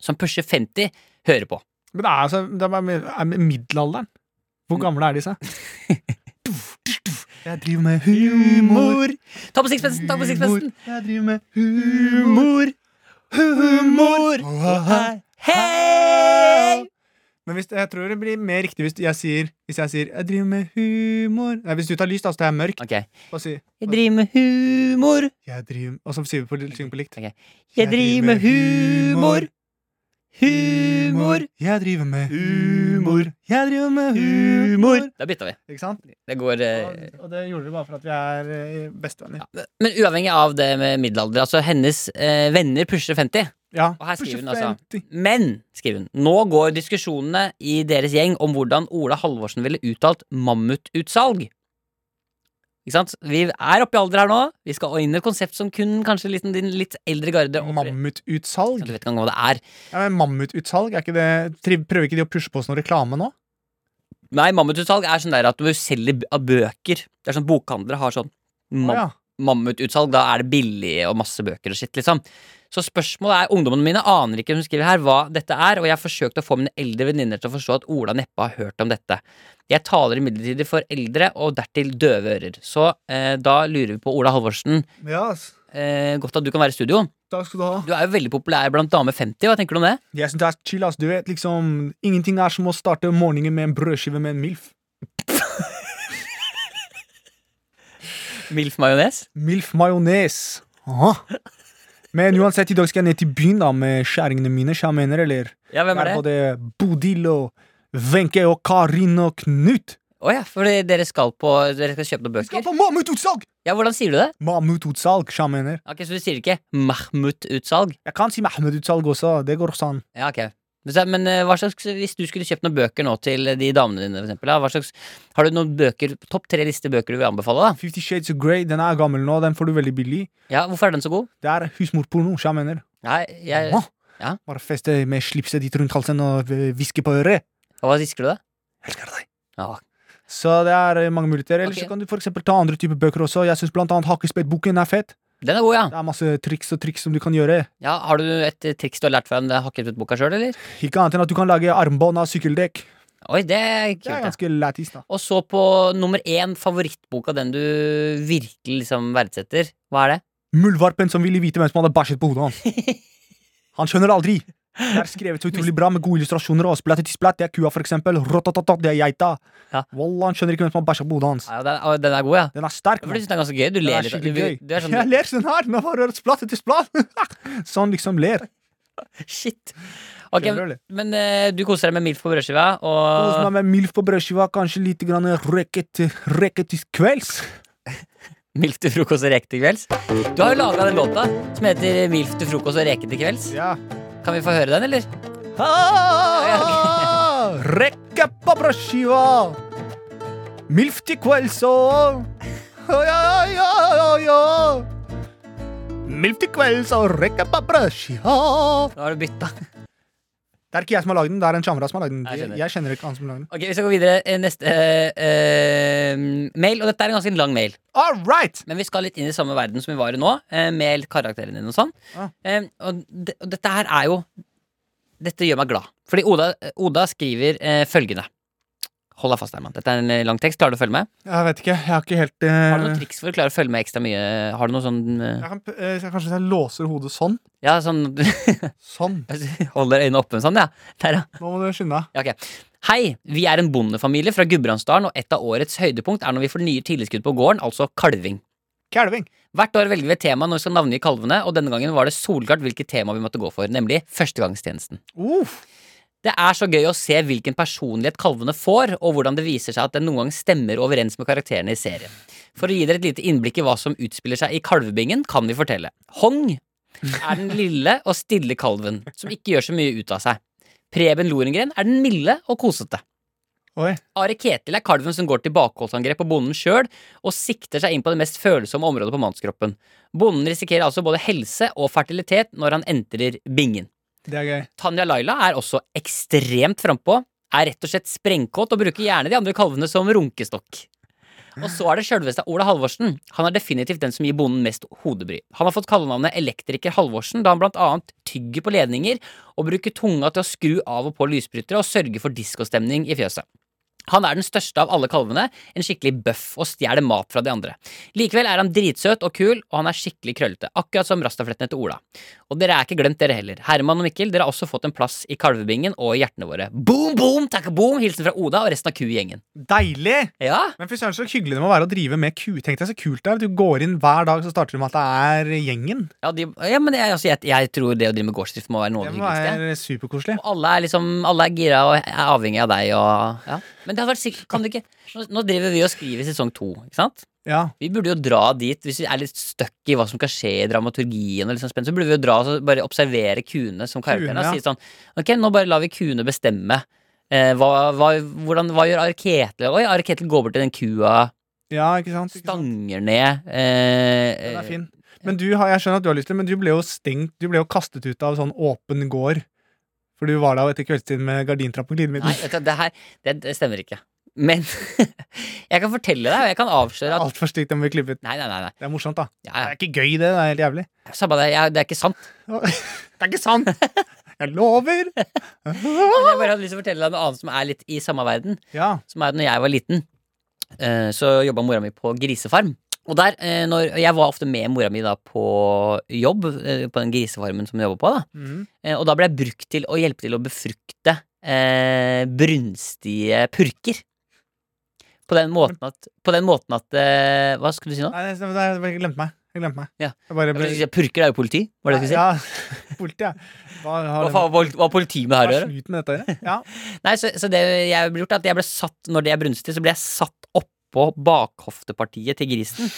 Speaker 4: som pusher 50, hører på.
Speaker 2: Men det er altså det er bare med- er med middelalderen. Hvor gamle er disse? Mm. Jeg driver med humor.
Speaker 4: Ta på sixpensen! Ta på sixpensen!
Speaker 2: Jeg driver med humor. Humor!
Speaker 4: Hei!
Speaker 2: Men hvis, jeg tror det blir mer riktig hvis jeg sier Hvis jeg sier 'jeg driver med humor' Nei, Hvis du tar lyst, da, så tar jeg mørkt.
Speaker 4: Ok. Jeg
Speaker 2: Og, sier,
Speaker 4: driver med humor.
Speaker 2: jeg driver, og så sier vi på, synger på likt.
Speaker 4: Ok. Jeg driver med humor. Humor.
Speaker 2: Jeg driver med humor. Jeg driver med humor.
Speaker 4: Da bytta vi.
Speaker 2: Ikke sant?
Speaker 4: Det går
Speaker 2: Og,
Speaker 4: eh,
Speaker 2: og det gjorde vi bare for at vi er eh, bestevenner.
Speaker 4: Men uavhengig av det med middelalder, altså hennes eh, venner pusher 50.
Speaker 2: Ja.
Speaker 4: Og her skriver hun
Speaker 2: Pusher
Speaker 4: altså-
Speaker 2: 50.
Speaker 4: Men, skriver hun, nå går diskusjonene i deres gjeng om hvordan Ola Halvorsen ville uttalt mammututsalg. Ikke sant? Vi er oppe i alder her nå. Vi skal inn i et konsept som kun kanskje litt, din litt eldre garde opplever. Ja,
Speaker 2: Mammututsalg?
Speaker 4: Du vet ikke engang hva det er.
Speaker 2: Ja, men mammututsalg, er ikke det triv- Prøver ikke de å pushe på oss noe reklame nå?
Speaker 4: Nei, mammututsalg er sånn der at du selger b- av bøker. Det er sånn Bokhandlere har sånn
Speaker 2: Å,
Speaker 4: mam
Speaker 2: ja.
Speaker 4: mammututsalg. Da er det billig og masse bøker og shit, liksom. Så spørsmålet er, ungdommene mine aner ikke hun skriver her hva dette er, og jeg har forsøkt å få mine eldre venninner til å forstå at Ola neppe har hørt om dette. Jeg taler imidlertid for eldre og dertil døve ører. Så eh, da lurer vi på Ola Halvorsen.
Speaker 2: Ja, ass.
Speaker 4: Eh, godt at du kan være i studio.
Speaker 2: Takk skal du ha.
Speaker 4: Du er jo veldig populær blant dame 50, hva tenker du om det?
Speaker 2: Jeg synes det er chill, ass. Du vet liksom Ingenting er som å starte morgenen med en brødskive med en MILF.
Speaker 4: Milf majones?
Speaker 2: MILF majones. Aha. Men uansett, i dag skal jeg ned til byen da med kjerringene mine, sjamener, eller?
Speaker 4: Ja, hvem er det?
Speaker 2: Både Bodil og Wenche og Karin og Knut.
Speaker 4: Å ja, for dere skal på Dere skal kjøpe noen
Speaker 2: Vi skal
Speaker 4: bøker?
Speaker 2: på mammututsalg!
Speaker 4: Ja, hvordan sier du det?
Speaker 2: Mammututsalg, sjamener.
Speaker 4: Ok, Så du sier ikke Mahmut-utsalg?
Speaker 2: Jeg kan si Mahmud-utsalg også. Det går også an.
Speaker 4: Ja, ok Men så- men eh, hva slags, hvis du skulle kjøpt noen bøker nå til de damene dine, for eksempel, ja, hva slags, har du noen bøker, topp tre liste bøker du vil anbefale? da?
Speaker 2: Fifty Shades of Grey, den er gammel nå. Den får du veldig billig.
Speaker 4: Ja, Hvorfor er den så god?
Speaker 2: Det er husmorporno, så jeg mener.
Speaker 4: Nei, jeg,
Speaker 2: Åh,
Speaker 4: ja.
Speaker 2: Bare feste med slipset ditt rundt halsen og eh, hviske på øret.
Speaker 4: Hva hvisker du, da?
Speaker 2: Elsker deg.
Speaker 4: Ja.
Speaker 2: Så det er eh, mange muligheter. Eller
Speaker 4: Ok.
Speaker 2: så kan du for eksempel ta andre typer bøker også. Jeg syns blant annet Hakkespettboken er fett.
Speaker 4: Den er god, ja.
Speaker 2: Det er masse triks og triks som du kan gjøre.
Speaker 4: ja. Har du et eh, triks du har lært fra en eh, hakket ut boka sjøl, eller?
Speaker 2: Ikke annet enn at du kan lage armbånd av sykkeldekk.
Speaker 4: Oi, det er
Speaker 2: Det
Speaker 4: kult.
Speaker 2: er
Speaker 4: Ja.
Speaker 2: ganske lættis, da.
Speaker 4: Og så på nummer én favorittboka, den du virkelig liksom verdsetter. Hva er det?
Speaker 2: Muldvarpen som ville vite hvem som hadde bæsjet på hodet hans. Han skjønner det aldri. Det er skrevet så utrolig bra med gode illustrasjoner. Og splatt til splatt, det er kua, for eksempel. Rotatata, det er geita.
Speaker 4: Ja.
Speaker 2: Wallah, han skjønner ikke hvem som har bæsja på hodet hans.
Speaker 4: Ja, den, å, den er god, ja.
Speaker 2: Den er sterk.
Speaker 4: For du
Speaker 2: mann.
Speaker 4: syns den er ganske gøy? Du
Speaker 2: Den
Speaker 4: ler
Speaker 2: er
Speaker 4: litt. av-
Speaker 2: skikkelig
Speaker 4: Du,
Speaker 2: gøy.
Speaker 4: du er
Speaker 2: Jeg
Speaker 4: sånn
Speaker 2: ler sånn her. Nå har jeg hørt splatt til splatt. sånn liksom ler.
Speaker 4: Shit. Ok,
Speaker 2: Skjønner du?
Speaker 4: men eh, du koser deg med Milf på brødskiva,
Speaker 2: Kos
Speaker 4: og
Speaker 2: meg med milf på brødskiva, kanskje litt grann reket, reket til kvelds.
Speaker 4: Milf til frokost og reke til kvelds. Du har jo laga den låta som heter Milf til frokost og reke til kvelds.
Speaker 2: Ja.
Speaker 4: Kan vi få høre den, eller?
Speaker 2: Ah, Rekke på brødskiva. Milf til kvelds og Ja, ja, ja, ja, ja. Milf til kvelds og rekke på brødskiva.
Speaker 4: Nå har du bytta.
Speaker 2: Det er ikke jeg som har lagd den, det er en shamra som har lagd den.
Speaker 4: Jeg skjønner.
Speaker 2: Jeg, jeg kjenner ikke han som har lagd den.
Speaker 4: Ok, Vi skal gå videre. Eh, Neste eh, eh, mail. Og dette er en ganske lang mail.
Speaker 2: All right!
Speaker 4: Men vi skal litt inn i samme verden som vi var i nå, eh, med karakterene dine og sånn.
Speaker 2: Ja.
Speaker 4: Eh, og, det- og dette her er jo Dette gjør meg glad. Fordi Oda, Oda skriver eh, følgende. Hold deg fast, Herman. Dette er en eh, lang tekst. Klarer du å følge med?
Speaker 2: Jeg vet ikke. Jeg har ikke helt
Speaker 4: Har du noen
Speaker 2: eh,
Speaker 4: triks for å klare å følge med ekstra mye? Har du noe sånn eh,
Speaker 2: jeg kan, p- eh, Kanskje hvis jeg låser hodet sånn.
Speaker 4: Ja, sånn
Speaker 2: Sånn.
Speaker 4: Holder øynene oppe sånn, ja. Der, ja.
Speaker 2: Nå må du skynde deg.
Speaker 4: Ja, ok. Hei, vi er en bondefamilie fra Gudbrandsdalen, og et av årets høydepunkt er når vi fornyer tilskudd på gården, altså kalving.
Speaker 2: Kalving.
Speaker 4: Hvert år velger vi et tema når vi skal navngi kalvene, og denne gangen var det solklart hvilket tema vi måtte gå for, nemlig førstegangstjenesten.
Speaker 2: Uff.
Speaker 4: Det er så gøy å se hvilken personlighet kalvene får, og hvordan det viser seg at den noen gang stemmer overens med karakterene i serien. For å gi dere et lite innblikk i hva som utspiller seg i kalvebingen, kan vi fortelle. Hong er den lille og stille kalven, som ikke gjør så mye ut av seg. Preben Lorengren er den milde og kosete.
Speaker 2: Oi.
Speaker 4: Are Ketil er kalven som går til bakholdsangrep på bonden sjøl, og sikter seg inn på det mest følsomme området på mannskroppen. Bonden risikerer altså både helse og fertilitet når han entrer bingen.
Speaker 2: Det er gøy.
Speaker 4: Tanja Laila er også ekstremt frampå, er rett og slett sprengkåt og bruker gjerne de andre kalvene som runkestokk. Og så er det sjølveste Ola Halvorsen. Han er definitivt den som gir bonden mest hodebry. Han har fått kallenavnet Elektriker Halvorsen da han blant annet tygger på ledninger og bruker tunga til å skru av og på lysbrytere og sørge for diskostemning i fjøset. Han er den største av alle kalvene, en skikkelig bøff og stjeler mat fra de andre. Likevel er han dritsøt og kul, og han er skikkelig krøllete, akkurat som rastaflettene til Ola. Og dere er ikke glemt, dere heller. Herman og Mikkel, dere har også fått en plass i kalvebingen og i hjertene våre. Boom, boom, takk boom! Hilsen fra Oda og resten av kugjengen.
Speaker 2: Deilig!
Speaker 4: Ja,
Speaker 2: Men fy søren, så hyggelig det må være å drive med ku. Tenk deg så kult det er. Du går inn hver dag, så starter du med at det er gjengen.
Speaker 4: ja, de, ja men jeg, altså, jeg, jeg tror det å drive med gårdsdrift må være noe av
Speaker 2: Det
Speaker 4: det
Speaker 2: må
Speaker 4: hyggeligste.
Speaker 2: være superkoselig.
Speaker 4: Og Alle er liksom, alle er gira og er avhengig av deg og ja. Men det hadde vært sikkert, kan du ikke Nå, nå driver vi og skriver sesong to, ikke sant?
Speaker 2: Ja.
Speaker 4: Vi burde jo dra dit hvis vi er litt stuck i hva som kan skje i dramaturgien. Og liksom spent, så burde vi jo dra og så bare observere kuene som karakterene.
Speaker 2: Kuene, ja.
Speaker 4: Og si sånn Ok, nå bare lar vi kuene bestemme. Eh, hva, hva, hvordan, hva gjør Arketel? Oi, Arketel går bort til den kua,
Speaker 2: ja, ikke sant? Ikke sant?
Speaker 4: stanger ned eh,
Speaker 2: Den er
Speaker 4: eh,
Speaker 2: fin. Men du har, jeg skjønner at du har lyst til men du ble jo stengt, du ble jo kastet ut av sånn åpen gård. For du var der jo etter kveldstid med gardintrapp og
Speaker 4: eh,
Speaker 2: glidemiddel.
Speaker 4: Nei, vet du, det her det, det stemmer ikke. Men jeg kan fortelle deg, og jeg kan avsløre at
Speaker 2: Altfor stygt, den ble klippet.
Speaker 4: Nei, nei, nei. nei.
Speaker 2: Det er morsomt, da.
Speaker 4: Ja,
Speaker 2: Det er ikke gøy, det. Det er helt jævlig.
Speaker 4: ja. Samme det, jeg, det er ikke sant.
Speaker 2: Det er ikke sant! Jeg lover!
Speaker 4: Men jeg bare hadde lyst til å fortelle deg noe annet som er litt i samme verden.
Speaker 2: Ja.
Speaker 4: som er at når jeg var liten, eh, så jobba mora mi på grisefarm. Og der, eh, når, Jeg var ofte med mora mi da på jobb, eh, på den grisefarmen som hun jobba på. da
Speaker 2: Mhm.
Speaker 4: Eh, Og da ble jeg brukt til å hjelpe til å befrukte eh, brunstige purker. På den måten at, på den måten at eh, Hva skulle du si nå?
Speaker 2: Nei, det- det- det- jeg glemte meg. Jeg glemte meg.
Speaker 4: Ja.
Speaker 2: Jeg bare
Speaker 4: Jeg
Speaker 2: ble
Speaker 4: skulle si, Purker er jo politi, var det jeg skulle si?
Speaker 2: Ja. Politi, ja. Hva har
Speaker 4: Hva
Speaker 2: det
Speaker 4: faen var hva har politi med her å
Speaker 2: Hva
Speaker 4: gjøre?
Speaker 2: er slutt med dette å gjøre? Ja.
Speaker 4: Nei, så, så det jeg ble gjort er at jeg ble satt Når det er brunstig, så ble jeg satt oppå bakhoftepartiet til grisen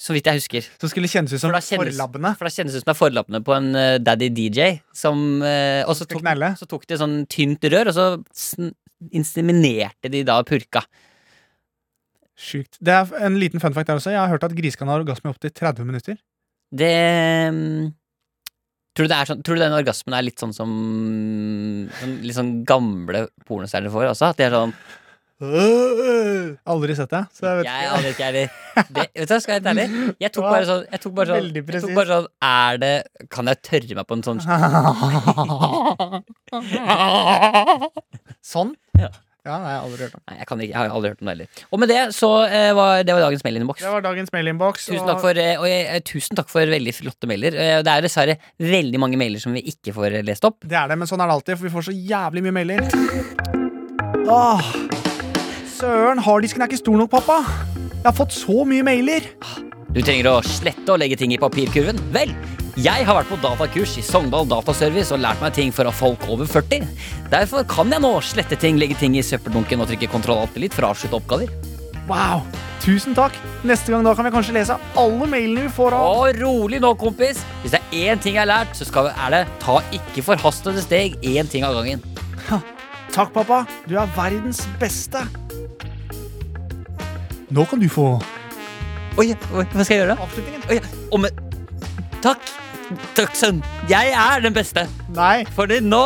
Speaker 4: Så vidt jeg husker
Speaker 2: Som skulle kjennes ut som
Speaker 4: For da kjennes-
Speaker 2: forlabbene.
Speaker 4: For da kjennes det ut som det er forlappene på en eh, daddy DJ Som eh, Og så
Speaker 2: Skal
Speaker 4: tok,
Speaker 2: knelle.
Speaker 4: så tok de sånn tynt rør Og så sn- inseminerte de da purka
Speaker 2: Sjukt. Det er en liten fun fact der også. Jeg har hørt at gris kan ha orgasme i opptil 30 minutter.
Speaker 4: Det mm, Tror du, det er sånn, tror du den orgasmen er litt sånn som sånn, Litt sånn gamle pornostjerner får også? At de er sånn
Speaker 2: Aldri sett det, så jeg vet
Speaker 4: Jeg aner ikke heller. Det- Vet du hva, skal jeg være helt ærlig? Jeg tok bare sånn, jeg tok bare sånn,
Speaker 2: Veldig
Speaker 4: jeg tok bare sånn Er det Kan jeg tørre meg på en sånn
Speaker 2: Sånn?
Speaker 4: Ja.
Speaker 2: Ja, nei, jeg har aldri hørt om.
Speaker 4: Nei, jeg, kan ikke, jeg har aldri hørt om det heller. Og med det så eh, var det var dagens mailinnboks.
Speaker 2: Det var dagens mailinnboks.
Speaker 4: Tusen
Speaker 2: og-
Speaker 4: takk, for, eh, og jeg, eh, tusen takk for veldig flotte mailer. Eh, Det er dessverre veldig mange mailer som vi ikke får eh, lest opp.
Speaker 2: Det er det, men sånn er det alltid, for vi får så jævlig mye mailer. Åh. Søren, harddisken er ikke stor nok, pappa. Jeg har fått så mye mailer.
Speaker 4: Du trenger å slette og legge ting i papirkurven. Vel, jeg har vært på datakurs i Sogndal Dataservice og lært meg ting for folk over 40. Derfor kan jeg nå slette ting, legge ting i søppeldunken og trykke kontroll alt litt for å avslutte oppgaver.
Speaker 2: Wow. Tusen takk. Neste gang da kan vi kanskje lese alle mailene vi får av.
Speaker 4: Og rolig nå, kompis. Hvis det er én ting jeg har lært, så skal, er det ta ikke forhastede steg én ting av gangen.
Speaker 2: Takk, pappa. Du er verdens beste. Nå kan du få
Speaker 4: Oi, oi, hva skal jeg gjøre? da?
Speaker 2: avslutningen.
Speaker 4: Oi, om, takk. Takk, sønn. Jeg er den beste.
Speaker 2: Nei,
Speaker 4: Fordi nå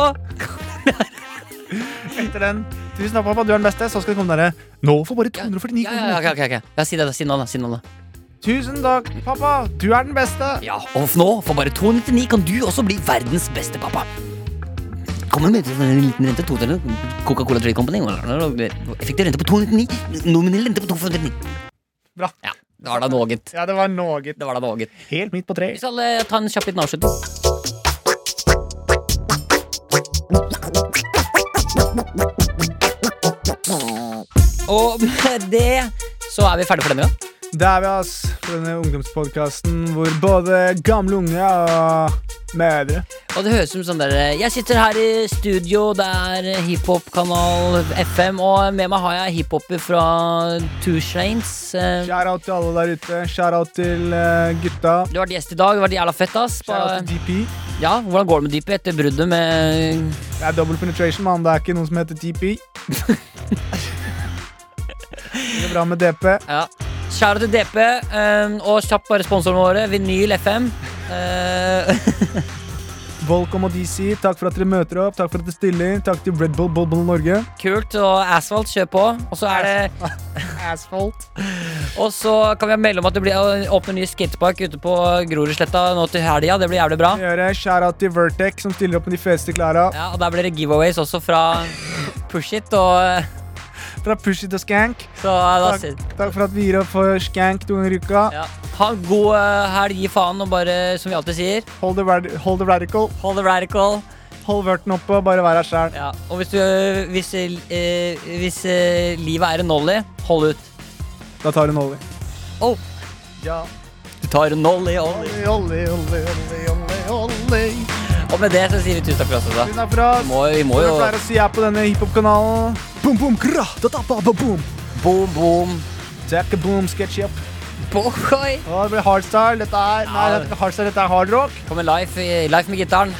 Speaker 2: etter den. Tusen takk, pappa. Du er den beste. Så skal det komme dere nå for bare 249
Speaker 4: Ja, ja, ja, ok, ok, ok. ja si det, da. Si navn, da. Si navn, da.
Speaker 2: Tusen takk, pappa. Du er den beste.
Speaker 4: Ja, og nå, for bare 299, kan du også bli verdens beste pappa. Kommer med en liten rente, 200, Coca-Cola Trade Company. Effektiv rente på 299, nominell rente på 249.
Speaker 2: Bra.
Speaker 4: Ja, det var da noe. gitt.
Speaker 2: Ja, det var noe. gitt.
Speaker 4: Det var da noe. gitt.
Speaker 2: Helt midt på treet.
Speaker 4: Vi skal eh, ta en kjapp liten avslutning. Og med det så er vi ferdige for denne gang.
Speaker 2: Det er vi, ass. For denne ungdomspodkasten hvor både gamle unge og mødre
Speaker 4: Og det høres ut som sånn der Jeg sitter her i studio, det er hiphop-kanal FM, og med meg har jeg hiphoper fra Two Shanes. Eh,
Speaker 2: Shout-out til alle der ute. Shout-out til eh, gutta.
Speaker 4: Du har vært gjest i dag, du har vært jævla fett, ass.
Speaker 2: Shout-out til DP.
Speaker 4: Ja, hvordan går det med dypet etter bruddet med
Speaker 2: Det er double penetration, mann. Det er ikke noen som heter TP. Det går bra med DP.
Speaker 4: Ja. Kjære til DP, eh, og kjapt bare sponsorene våre, Vinyl FM. Eh,
Speaker 2: Volcom og DC, takk for at dere møter opp. Takk for at dere stiller. Takk til Red Bull Bull Bull Norge.
Speaker 4: kult. Og Asphalt, kjør på. Og så er det
Speaker 2: Asphalt.
Speaker 4: Og så kan vi melde om at det blir å åpne ny skatepark ute på Grorudsletta nå til helga. Det blir jævlig bra.
Speaker 2: Shout-out til Vertec, som stiller opp med de feteste klara.
Speaker 4: Ja, og der blir det giveaways også fra Push It. Og,
Speaker 2: Fra Push It og Skank.
Speaker 4: så da
Speaker 2: Takk,
Speaker 4: sier-
Speaker 2: takk for at vi gir opp for Skank to ganger i uka.
Speaker 4: ja. Ha en god eh, helg, gi faen, og bare som vi alltid sier,
Speaker 2: Hold the, rad hold the radical.
Speaker 4: hold the radical.
Speaker 2: Hold verten oppe og bare vær deg sjæl.
Speaker 4: Ja. Og hvis, du, hvis, eh, hvis eh, livet er en nolly, hold ut.
Speaker 2: Da tar hun olje.
Speaker 4: Oh.
Speaker 2: Ja.
Speaker 4: Du tar en nolly, olly.
Speaker 2: Olje, olje, olje, olje, olje, olje.
Speaker 4: Og med det så sier vi tusen takk for oss. altså. Da.
Speaker 2: Tusen takk for
Speaker 4: Vi
Speaker 2: oss.
Speaker 4: må, vi må
Speaker 2: Som
Speaker 4: jo
Speaker 2: jeg pleier å si her på denne hiphop-kanalen. Boom, boom, gra, da, da, ba, ba, boom.
Speaker 4: Boom, boom.
Speaker 2: Jack a boom, sketch up.
Speaker 4: Boy.
Speaker 2: Å, det blir hardstyle. Dette er Nei,
Speaker 4: Ja.
Speaker 2: det er ikke hardstyle, dette er hardrock.
Speaker 4: Kommer life, i- life med gitaren.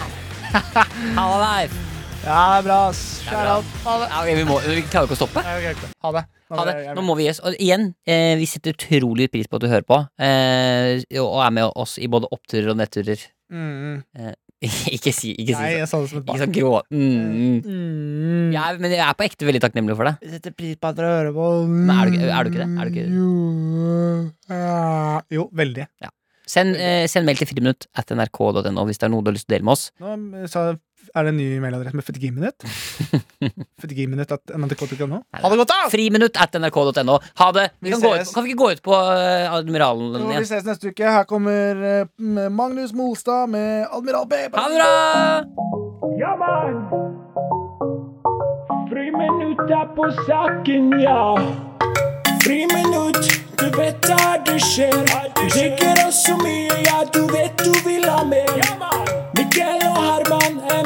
Speaker 4: Halla, life.
Speaker 2: Ja, det er bra, ass. Shout out. Ha det.
Speaker 4: Ja, ok, vi, må, vi klarer jo ikke å stoppe.
Speaker 2: Nei, ok, ok. Ha det.
Speaker 4: Ha det.
Speaker 2: jeg-
Speaker 4: Nå må vi gi oss. Og igjen, eh, vi setter utrolig pris på at du hører på, eh, og er med oss i både oppturer og nedturer.
Speaker 2: Mm, mm.
Speaker 4: ikke si, ikke si
Speaker 2: Nei,
Speaker 4: sånn.
Speaker 2: jeg sa det som et
Speaker 4: Ikke
Speaker 2: barn.
Speaker 4: sånn grå. Mm.
Speaker 2: Mm.
Speaker 4: Jeg er, men jeg er på ekte veldig takknemlig for det.
Speaker 2: Jeg setter pris på at dere hører på.
Speaker 4: Men er du ikke- er du ikke det? Er du ikke-
Speaker 2: Jo, jo, veldig.
Speaker 4: Send, eh, send mail til friminutt at nrk.no hvis det er noe du har lyst til å dele med oss.
Speaker 2: Nå mm, sa, er det en ny mailadresse med 49 minutt. 49 minutt at nrk.no. Ha det godt, da!
Speaker 4: Friminutt at nrk.no. Ha det! Vi
Speaker 2: Vi
Speaker 4: kan, gå ut,
Speaker 2: ses.
Speaker 4: kan vi ikke gå ut på eh, Admiralen
Speaker 2: Jo, Vi
Speaker 4: igjen?
Speaker 2: ses neste uke. Her kommer eh, m- Magnus Molstad med Admiral B.
Speaker 4: Ha det bra!
Speaker 3: Ja, mann! Friminutt er på saken, ja. Friminutt, du vet der det skjer. Du drikker oss så mye, ja, du vet du vil ha mer. Mikkel og Herman er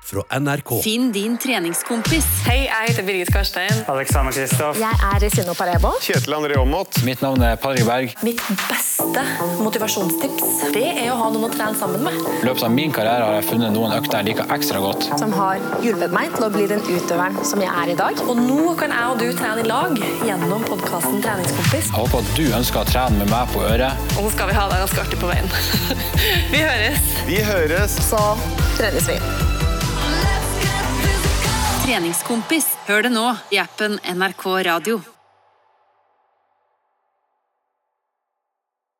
Speaker 10: fra NRK.
Speaker 1: Finn din treningskompis.
Speaker 11: Hei, jeg heter Birgit Karstein.
Speaker 12: Alexander Kristoff.
Speaker 13: Jeg er Sunno Parebo.
Speaker 3: Kjetil André Aamodt. Mitt navn er Parry Berg.
Speaker 14: Mitt beste motivasjonistips det er å ha noen å trene sammen med.
Speaker 3: I løpet av min karriere har jeg funnet noen økter jeg liker ekstra godt.
Speaker 13: Som har hjulpet meg til å bli den utøveren som jeg er i dag.
Speaker 14: Og nå kan jeg og du trene i lag gjennom podkasten Treningskompis.
Speaker 3: Jeg håper at du ønsker å trene med meg på øret.
Speaker 14: Og så skal vi ha det ganske artig på veien. vi høres.
Speaker 3: Vi høres.
Speaker 13: Så trenes vi.
Speaker 1: Treningskompis. Hør det nå i appen NRK Radio.